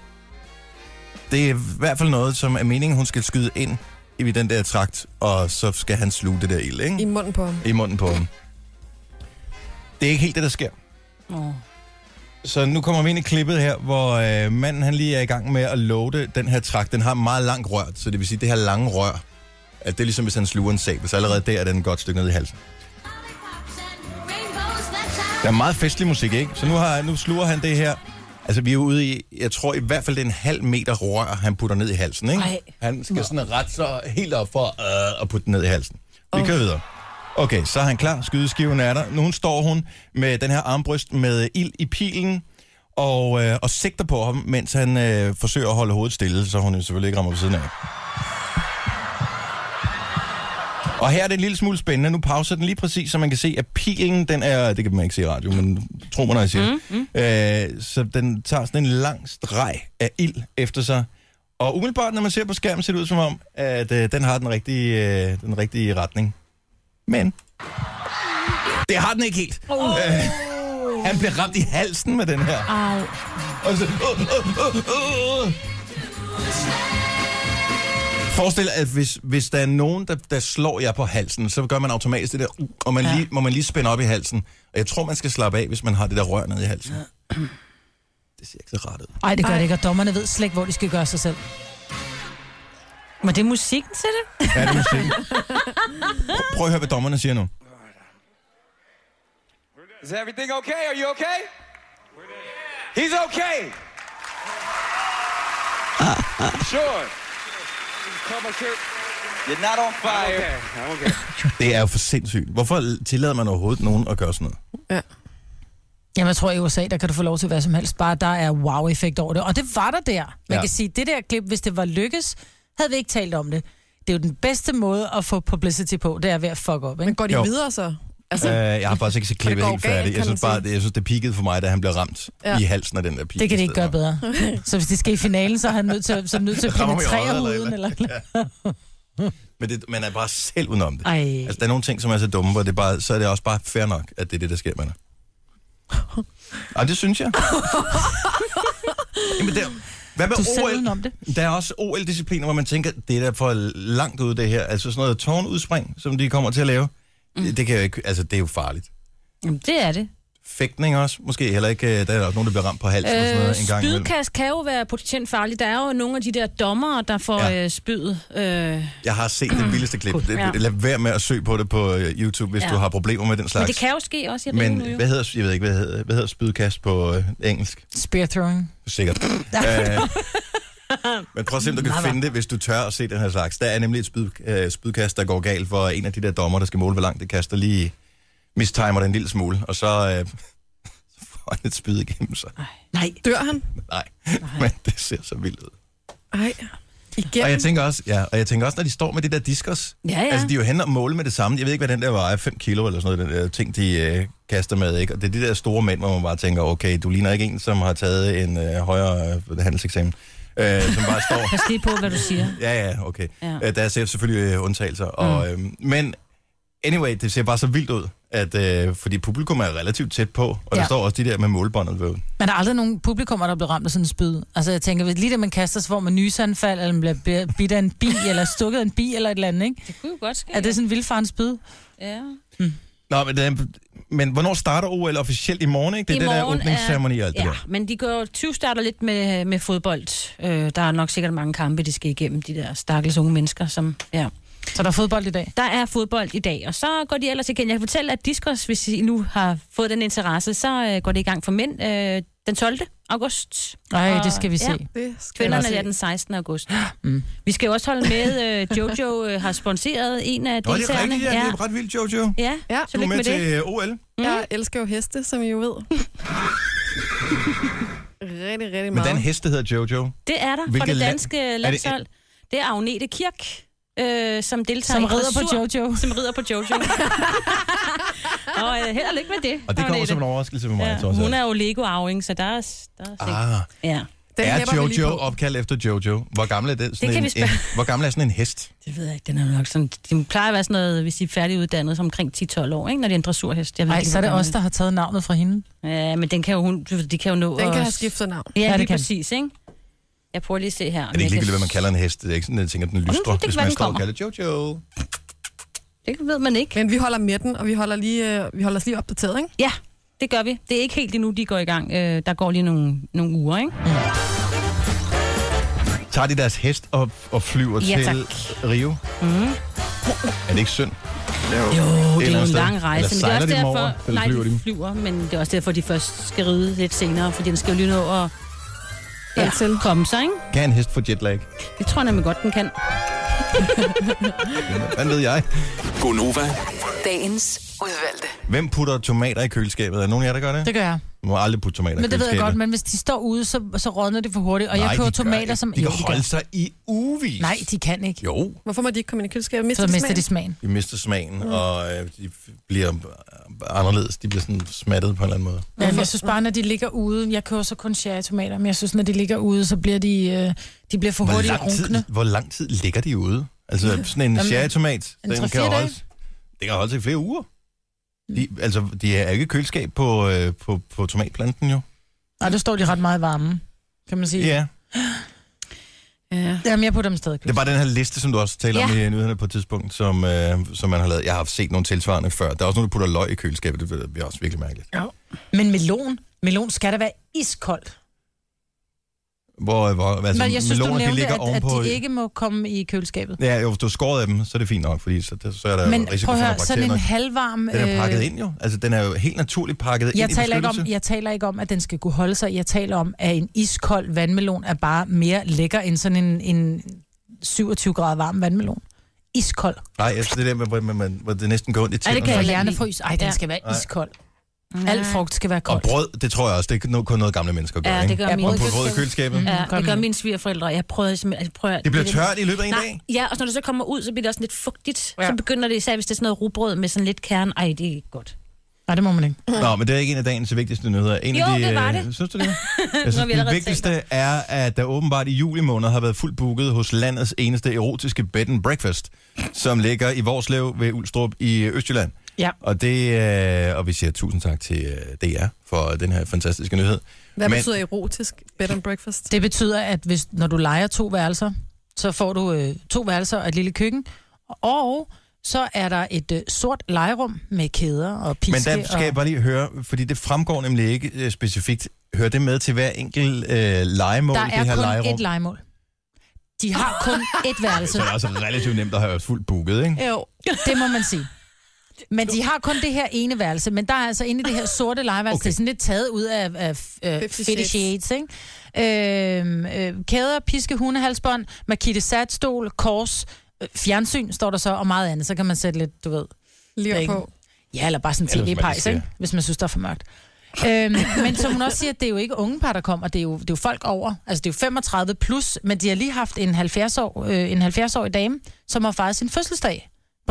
[SPEAKER 1] det er i hvert fald noget, som er meningen, hun skal skyde ind i den der trakt, og så skal han sluge det der ild,
[SPEAKER 3] I
[SPEAKER 1] ikke?
[SPEAKER 3] munden på ham.
[SPEAKER 1] I munden på ham. Det er ikke helt det, der sker.
[SPEAKER 4] Åh.
[SPEAKER 1] Så nu kommer vi ind i klippet her, hvor øh, manden han lige er i gang med at loade den her trakt. Den har meget langt rør, så det vil sige, det her lange rør, at det er ligesom, hvis han sluger en sabel, så allerede der er den et godt stykke ned i halsen. Der er meget festlig musik, ikke? Så nu, har, nu sluger han det her. Altså, vi er ude i, jeg tror i hvert fald, det er en halv meter rør, han putter ned i halsen, ikke?
[SPEAKER 4] Ej.
[SPEAKER 1] Han skal sådan rette sig helt op for øh, at putte den ned i halsen. Vi kører videre. Okay, så er han klar. Skydeskiven er der. Nu står hun med den her armbryst med ild i pilen og, øh, og sigter på ham, mens han øh, forsøger at holde hovedet stille, så hun jo selvfølgelig ikke rammer ved siden af. Og her er det en lille smule spændende. Nu pauser den lige præcis, så man kan se, at pilen, den er... Det kan man ikke se i radio, men tro mig, når jeg siger mm, mm. Øh, Så den tager sådan en lang streg af ild efter sig. Og umiddelbart, når man ser på skærmen, ser det ud som om, at øh, den har den rigtige, øh, den rigtige retning. Men... Det har den ikke helt. Oh. Øh, han blev ramt i halsen med den her.
[SPEAKER 2] Au.
[SPEAKER 1] Og så... Uh, uh, uh, uh. Forestil dig, at hvis, hvis der er nogen, der, der slår jer på halsen, så gør man automatisk det der, uh, og man ja. lige, må man lige spænde op i halsen. Og jeg tror, man skal slappe af, hvis man har det der rør nede i halsen. Det ser ikke så rart ud.
[SPEAKER 2] Ej, det gør det ikke, og dommerne ved slet ikke, hvor de skal gøre sig selv.
[SPEAKER 4] Men det er musikken til det.
[SPEAKER 1] Ja, det må se. Prøv, prøv at høre, hvad dommerne siger nu.
[SPEAKER 9] Is everything okay? Are you okay? He's okay. sure. Come on, sir. You're not on fire. okay. I'm okay.
[SPEAKER 1] Det er jo for sindssygt. Hvorfor tillader man overhovedet nogen at gøre sådan noget?
[SPEAKER 2] Jamen, jeg tror, i USA, der kan du få lov til hvad som helst. Bare der er wow-effekt over det. Og det var der der. Man
[SPEAKER 1] Ja.
[SPEAKER 2] ja. kan sige, det der klip, hvis det var lykkes, havde vi ikke talt om det. Det er jo den bedste måde at få publicity på, det er ved at fuck op,
[SPEAKER 3] Men
[SPEAKER 2] ikke?
[SPEAKER 3] går de
[SPEAKER 1] Jo.
[SPEAKER 3] videre så?
[SPEAKER 1] Altså, øh, jeg har faktisk ikke set klippet
[SPEAKER 3] går
[SPEAKER 1] helt
[SPEAKER 3] galt,
[SPEAKER 1] færdigt.
[SPEAKER 3] kan
[SPEAKER 1] Jeg synes
[SPEAKER 3] man
[SPEAKER 1] bare, det, jeg synes, det peakede for mig, da han blev ramt
[SPEAKER 3] Ja.
[SPEAKER 1] ja. i halsen af den der pige.
[SPEAKER 2] Det
[SPEAKER 1] i
[SPEAKER 2] kan de ikke gøre
[SPEAKER 1] stedet
[SPEAKER 2] bedre. Så hvis de skal i finalen, så er han nødt til, så er han nødt til at
[SPEAKER 1] Rammer mig i
[SPEAKER 2] penetrere
[SPEAKER 1] øjet,
[SPEAKER 2] huden. Eller,
[SPEAKER 1] eller- for. Men det, man er bare selv udenom det.
[SPEAKER 2] Ej.
[SPEAKER 1] Altså, der er nogle ting, som er så dumme, hvor det bare, så er det også bare fair nok, at det er det, der sker med dig. Ej, det synes jeg. Jamen, der, hvad med
[SPEAKER 2] Du er selv
[SPEAKER 1] OL?
[SPEAKER 2] udenom det.
[SPEAKER 1] Der er også OL-discipliner, hvor man tænker, det er da for langt ude, det her. Altså sådan noget tårnudspring, som de kommer til at lave. Mm. Det, det, kan jo ikke, altså, det er jo farligt.
[SPEAKER 4] Jamen, det er det.
[SPEAKER 1] Fægtning også, måske heller ikke. øh, Der er også nogen, der bliver ramt på halsen øh, og sådan
[SPEAKER 4] Øh,
[SPEAKER 1] noget en gang imellem.
[SPEAKER 4] spydkast kan jo være potentielt farligt. Der er jo nogle af de der dommere, der får
[SPEAKER 1] Ja.
[SPEAKER 4] ja. øh, spydet. Øh,
[SPEAKER 1] Jeg har set det vildeste klip.
[SPEAKER 4] Ja.
[SPEAKER 1] Lad være med at søge på det på øh, YouTube, hvis
[SPEAKER 4] Ja.
[SPEAKER 1] du har problemer med den slags.
[SPEAKER 4] men det kan jo ske også i ringen nu
[SPEAKER 1] Men
[SPEAKER 4] jo.
[SPEAKER 1] hvad hedder, jeg ved ikke, hvad hedder, hvad hedder spydkast på øh, engelsk?
[SPEAKER 2] Spear throwing.
[SPEAKER 1] Sikkert. Æh, men prøv at se, om du kan finde det, hvis du tør at se den her slags. Der er nemlig et spyd, øh, spydkast, der går galt, hvor en af de der dommer, der skal måle, hvor langt det kaster, lige mistimer den en lille smule, og så, øh, så får han et spyd igennem sig.
[SPEAKER 2] Nej.
[SPEAKER 3] Dør han?
[SPEAKER 1] Nej, men det ser så vildt ud.
[SPEAKER 3] Ej.
[SPEAKER 1] Og
[SPEAKER 3] Igen?
[SPEAKER 1] jeg tænker også, ja, og jeg tænker også, når de står med de der diskers,
[SPEAKER 4] Ja, ja.
[SPEAKER 1] altså de er jo hen og måle med det samme. Jeg ved ikke, hvad den der vejer, 5 kilo eller sådan noget, den der ting, de øh, kaster med, ikke? Og det er de der store mænd, hvor man bare tænker, okay, du ligner ikke en, som har taget en øh, højere øh, handelseksamen, øh, som bare står...
[SPEAKER 4] Pas lige på, hvad du siger.
[SPEAKER 1] Ja, ja, okay.
[SPEAKER 4] Ja. Mm.
[SPEAKER 1] Ja. Der er selv- selvfølgelig øh, undtagelser. Og, øh, men anyway, det ser bare så vildt ud, at, øh, fordi publikum er relativt tæt på, og ja. der
[SPEAKER 2] Ja.
[SPEAKER 1] står også de der med målbåndet ved.
[SPEAKER 2] Men der er aldrig nogen publikummer, der bliver ramt af sådan en spyd. Altså jeg tænker, hvis lige da man kaster, så får man nysanfald, eller man bliver bi- bidt af en bi, eller stukket af en bi, eller et eller andet, ikke?
[SPEAKER 4] Det kunne jo godt ske.
[SPEAKER 2] Er det sådan en vildfaren spyd?
[SPEAKER 4] Ja.
[SPEAKER 1] Nå, men, den, men hvornår starter OL officielt? I morgen, ikke? Det er
[SPEAKER 4] I
[SPEAKER 1] det der
[SPEAKER 4] morgen er-
[SPEAKER 1] åbningsceremoni og alt det
[SPEAKER 4] Ja,
[SPEAKER 1] der.
[SPEAKER 4] men de går 20 starter lidt med, med fodbold. Øh, der er nok sikkert mange kampe, de skal igennem, de der stakkels unge mennesker, som... Ja.
[SPEAKER 2] Så der er fodbold i dag.
[SPEAKER 4] Der er fodbold i dag, og så går de ellers igen. Jeg kan fortælle, at Discos, hvis I nu har fået den interesse, så øh, går det i gang for mænd øh, den 12. august.
[SPEAKER 2] Nej,
[SPEAKER 4] Og-
[SPEAKER 2] det skal vi se.
[SPEAKER 4] ja.
[SPEAKER 3] Det skal
[SPEAKER 4] Kvinderne
[SPEAKER 3] jeg
[SPEAKER 4] er
[SPEAKER 3] se.
[SPEAKER 4] den 16. august. Mm. Vi skal jo også holde med, øh, Jojo øh, har sponsoreret en af
[SPEAKER 1] Nå, det er
[SPEAKER 4] deltagerne.
[SPEAKER 1] rigtigt, ja. Det er ret vildt, Jojo.
[SPEAKER 4] ja.
[SPEAKER 3] Ja,
[SPEAKER 4] ja.
[SPEAKER 1] Du er
[SPEAKER 4] tillykke
[SPEAKER 1] med,
[SPEAKER 4] med
[SPEAKER 1] til
[SPEAKER 4] det.
[SPEAKER 1] øh, OL.
[SPEAKER 4] Mm.
[SPEAKER 3] Jeg elsker jo heste, som I jo ved. rigtig, rigtig
[SPEAKER 1] Men den
[SPEAKER 3] meget.
[SPEAKER 1] heste hedder Jojo.
[SPEAKER 4] Det er der fra
[SPEAKER 1] Hvilket
[SPEAKER 4] det
[SPEAKER 1] land-
[SPEAKER 4] danske
[SPEAKER 1] det-
[SPEAKER 4] landshold. Det, det er Agnete Kirk, øh, som deltager
[SPEAKER 2] Som
[SPEAKER 4] i
[SPEAKER 2] rider på
[SPEAKER 4] dressur.
[SPEAKER 2] Jojo.
[SPEAKER 4] Som rider på Jojo. og øh, held og lykke med det.
[SPEAKER 1] Og det kommer
[SPEAKER 4] Agnete.
[SPEAKER 1] som en overraskelse for mig,
[SPEAKER 4] Ja,
[SPEAKER 1] trods alt.
[SPEAKER 4] hun er jo Lego-arving, så der er, der er sikkert.
[SPEAKER 1] Ah,
[SPEAKER 4] Ja,
[SPEAKER 3] Den hæpper vi
[SPEAKER 1] er
[SPEAKER 3] lige
[SPEAKER 1] Jojo
[SPEAKER 3] på.
[SPEAKER 1] opkaldt efter Jojo? Hvor gammel er det? Sådan
[SPEAKER 4] kan
[SPEAKER 1] en,
[SPEAKER 4] vi spørge.
[SPEAKER 1] en, hvor gammel er sådan en hest?
[SPEAKER 4] det ved jeg ikke. Den er nok sådan, de plejer at være sådan noget, hvis de er færdiguddannet, som omkring 10-12 år, ikke? når det er en dressurhest. Jeg ved
[SPEAKER 2] Nej,
[SPEAKER 4] ikke,
[SPEAKER 2] så er det
[SPEAKER 4] hvordan
[SPEAKER 2] os, der har taget navnet fra hende.
[SPEAKER 4] Ja, men den kan jo, hun, de kan jo nå
[SPEAKER 3] Den
[SPEAKER 4] at-
[SPEAKER 3] kan have skiftet navn.
[SPEAKER 4] Ja,
[SPEAKER 2] det
[SPEAKER 4] lige
[SPEAKER 2] kan.
[SPEAKER 4] præcis, ikke? Jeg prøver lige at se her.
[SPEAKER 1] Er det ikke ligegyldigt, hvad man kalder en hest? Det er ikke sådan, at jeg tænker, den
[SPEAKER 4] det
[SPEAKER 1] lystrer,
[SPEAKER 4] kan
[SPEAKER 1] hvis
[SPEAKER 4] være,
[SPEAKER 1] man
[SPEAKER 4] den
[SPEAKER 1] står og
[SPEAKER 4] kommer.
[SPEAKER 1] kalder det Jojo.
[SPEAKER 4] Det ved man ikke.
[SPEAKER 3] Men vi holder med den, og vi holder, lige, øh, vi holder os lige opdateret, ikke?
[SPEAKER 4] Ja, det gør vi. Det er ikke helt endnu, de går i gang. Øh, der går lige nogle, nogle uger, ikke?
[SPEAKER 1] Tager de deres hest op og flyver
[SPEAKER 4] Ja,
[SPEAKER 1] til
[SPEAKER 4] tak.
[SPEAKER 1] Rio? Mm. Er det ikke synd?
[SPEAKER 4] Jo, det er
[SPEAKER 1] Eller
[SPEAKER 4] jo en
[SPEAKER 1] sted.
[SPEAKER 4] lang rejse.
[SPEAKER 1] Eller sejler
[SPEAKER 4] men det
[SPEAKER 1] de
[SPEAKER 4] er
[SPEAKER 1] dem
[SPEAKER 4] også
[SPEAKER 1] over,
[SPEAKER 4] derfor,
[SPEAKER 1] eller
[SPEAKER 4] nej,
[SPEAKER 1] flyver de dem?
[SPEAKER 4] de flyver, men det er også derfor, de først skal ride lidt senere, fordi den skal jo lige nå at ja,
[SPEAKER 3] Dertil.
[SPEAKER 4] komme sig, ikke?
[SPEAKER 1] Kan en hest få jetlag?
[SPEAKER 4] Det tror jeg nemlig godt, den kan.
[SPEAKER 1] Hvad ved jeg?
[SPEAKER 7] Gonova,
[SPEAKER 5] Dagens udvalgte.
[SPEAKER 1] Hvem putter tomater i køleskabet? Er der nogen af jer, der gør det?
[SPEAKER 2] Det gør jeg.
[SPEAKER 1] Man må aldrig putte tomater i
[SPEAKER 2] Men det ved jeg
[SPEAKER 1] køleskabet.
[SPEAKER 2] godt, men hvis de står ude, så, så rådner det for hurtigt. Og
[SPEAKER 1] Nej,
[SPEAKER 2] jeg køber
[SPEAKER 1] de gør
[SPEAKER 2] tomater,
[SPEAKER 1] ikke.
[SPEAKER 2] som...
[SPEAKER 1] De
[SPEAKER 2] Jo,
[SPEAKER 1] kan holde sig i ugevis.
[SPEAKER 2] Nej, de kan ikke.
[SPEAKER 1] Jo,
[SPEAKER 3] Hvorfor må de ikke komme ind i køleskabet? Mister
[SPEAKER 2] Så
[SPEAKER 3] de
[SPEAKER 2] mister de
[SPEAKER 3] smagen?
[SPEAKER 2] smagen.
[SPEAKER 1] de mister smagen,
[SPEAKER 2] Mm.
[SPEAKER 1] og øh, de f- bliver øh, anderledes. De bliver sådan smattet på en eller anden måde.
[SPEAKER 2] Ja, men jeg synes bare, når de ligger ude... Jeg køber så kun cherrytomater, men jeg synes, når de ligger ude, så bliver de, øh, de bliver for
[SPEAKER 1] Hvor
[SPEAKER 2] hurtigt
[SPEAKER 1] lang, tid,
[SPEAKER 2] runkne.
[SPEAKER 1] hvor lang tid ligger de ude? Altså sådan en cherrytomat,
[SPEAKER 2] en
[SPEAKER 1] den
[SPEAKER 2] tre,
[SPEAKER 1] kan
[SPEAKER 2] fire dage. Mm.
[SPEAKER 1] holde, det kan holde sig i flere uger. De, altså, de er ikke i køleskab på, øh, på, på tomatplanten jo.
[SPEAKER 2] Og der står de ret meget i varmen, kan man sige.
[SPEAKER 1] Ja.
[SPEAKER 4] Ja.
[SPEAKER 2] Jamen, jeg putter dem stadig.
[SPEAKER 1] Det er bare den her liste, som du også taler om i nyhederne på et tidspunkt, som, øh, som man har lavet. Jeg har set nogle tilsvarende før. Der er også nogle, der putter løg i køleskabet. Det bliver også virkelig mærkeligt.
[SPEAKER 2] Men melon, melon skal da være iskoldt.
[SPEAKER 1] Hvor, hvor altså,
[SPEAKER 2] Men jeg synes, du
[SPEAKER 1] meloner, de
[SPEAKER 2] nævnte,
[SPEAKER 1] ligger
[SPEAKER 2] at, at
[SPEAKER 1] ovenpå...
[SPEAKER 2] de ikke må komme i køleskabet.
[SPEAKER 1] Ja, jo, hvis du har skåret af dem, så er det fint nok, fordi så, så er der
[SPEAKER 2] Men
[SPEAKER 1] jo risiko
[SPEAKER 2] prøv
[SPEAKER 1] for
[SPEAKER 2] at
[SPEAKER 1] nogle
[SPEAKER 2] høre, sådan
[SPEAKER 1] bakterier.
[SPEAKER 2] en
[SPEAKER 1] nok.
[SPEAKER 2] halvvarm...
[SPEAKER 1] Den er pakket
[SPEAKER 2] øh,
[SPEAKER 1] ind jo. Altså, den er jo helt naturligt pakket
[SPEAKER 2] Jeg
[SPEAKER 1] ind
[SPEAKER 2] taler,
[SPEAKER 1] i
[SPEAKER 2] ikke om,
[SPEAKER 1] beskyttelse.
[SPEAKER 2] jeg taler ikke om, at den skal kunne holde sig. Jeg taler om, at en iskold vandmelon er bare mere lækker end sådan en, en 27 grader varm vandmelon. Iskold.
[SPEAKER 1] Nej, altså det der med, hvor man, man, hvor det næsten går ondt i
[SPEAKER 4] Ej,
[SPEAKER 1] tænderne.
[SPEAKER 4] det kan jeg
[SPEAKER 2] Og
[SPEAKER 4] heller ikke
[SPEAKER 2] hjernefrys. Ej, den
[SPEAKER 4] Ja.
[SPEAKER 2] skal være
[SPEAKER 1] Nej.
[SPEAKER 2] iskold. Al frugt skal være
[SPEAKER 1] Og
[SPEAKER 2] koldt.
[SPEAKER 1] brød, det tror jeg også, det er no- kun noget gamle mennesker gør,
[SPEAKER 4] Ja, det
[SPEAKER 1] ikke?
[SPEAKER 4] gør
[SPEAKER 2] Ja,
[SPEAKER 4] min.
[SPEAKER 2] brød
[SPEAKER 1] Og på brød i køleskabet.
[SPEAKER 4] Ja,
[SPEAKER 2] Gør
[SPEAKER 4] det gør
[SPEAKER 2] min.
[SPEAKER 4] mine svigerforældre. Jeg prøver, simpelthen- jeg prøver,
[SPEAKER 1] Det bliver tørt i løbet af en dag.
[SPEAKER 4] Nej, ja, og når det så kommer ud, så bliver det også lidt fugtigt.
[SPEAKER 2] Ja.
[SPEAKER 4] Ja. Så begynder det især, hvis det er sådan noget rugbrød med sådan lidt kerne. Ej, det er ikke godt.
[SPEAKER 2] Nej, det må man ikke.
[SPEAKER 1] Nå, men det er ikke en af dagens vigtigste nyheder. En af
[SPEAKER 4] Jo,
[SPEAKER 1] de,
[SPEAKER 4] det var
[SPEAKER 1] øh,
[SPEAKER 4] det.
[SPEAKER 1] Synes du det? Jeg
[SPEAKER 4] har
[SPEAKER 1] synes,
[SPEAKER 4] vi
[SPEAKER 1] det
[SPEAKER 4] allerede
[SPEAKER 1] vigtigste er, at der åbenbart i juli måned har været fuldt booket hos landets eneste erotiske bed and breakfast, som ligger i Vorslev ved Ulstrup i Østjylland.
[SPEAKER 2] Ja.
[SPEAKER 1] Og, det, øh, og vi siger tusind tak til øh, DR for den her fantastiske nyhed.
[SPEAKER 3] Hvad
[SPEAKER 1] Men-
[SPEAKER 3] Men... betyder erotisk bed and breakfast?
[SPEAKER 2] Det betyder, at hvis, når du leger to værelser, så får du øh, to værelser og et lille køkken. Og så er der et øh, sort legerum med kæder og piske.
[SPEAKER 1] Men der skal jeg
[SPEAKER 2] og...
[SPEAKER 1] bare lige høre, fordi det fremgår nemlig ikke øh, specifikt. Hører det med til hver enkelt øh, legemål,
[SPEAKER 2] Der
[SPEAKER 1] det her
[SPEAKER 2] er kun
[SPEAKER 1] legerum?
[SPEAKER 2] et legemål. De har kun et værelse.
[SPEAKER 1] Så det er altså relativt nemt at have fuldt booket, ikke?
[SPEAKER 3] Jo.
[SPEAKER 2] Det må man sige. Men de har kun det her ene værelse, men der er altså inde i det her sorte legeværelse, okay.
[SPEAKER 1] Okay.
[SPEAKER 2] det er sådan lidt taget ud af, af, af
[SPEAKER 3] Fifty
[SPEAKER 2] 50 Shades, shades ikke? Øhm, øh, kæder, piske, hundehalsbånd, Makita satstol, kors, øh, fjernsyn står der så, og meget andet. Så kan man sætte lidt, du ved,
[SPEAKER 3] Lige
[SPEAKER 2] Bacon.
[SPEAKER 3] på.
[SPEAKER 2] ja, eller bare sådan
[SPEAKER 1] Eller hvad
[SPEAKER 2] en
[SPEAKER 1] man
[SPEAKER 2] tv-pejs,
[SPEAKER 1] siger.
[SPEAKER 2] ikke? Hvis man synes, der er for mørkt. øhm, men som hun også siger, det er jo ikke unge par, der kommer, det er jo, det er jo folk over. Altså, det er jo 35 plus, men de har lige haft en 70-år, øh, en 70-årig dame, som har fejret sin fødselsdag.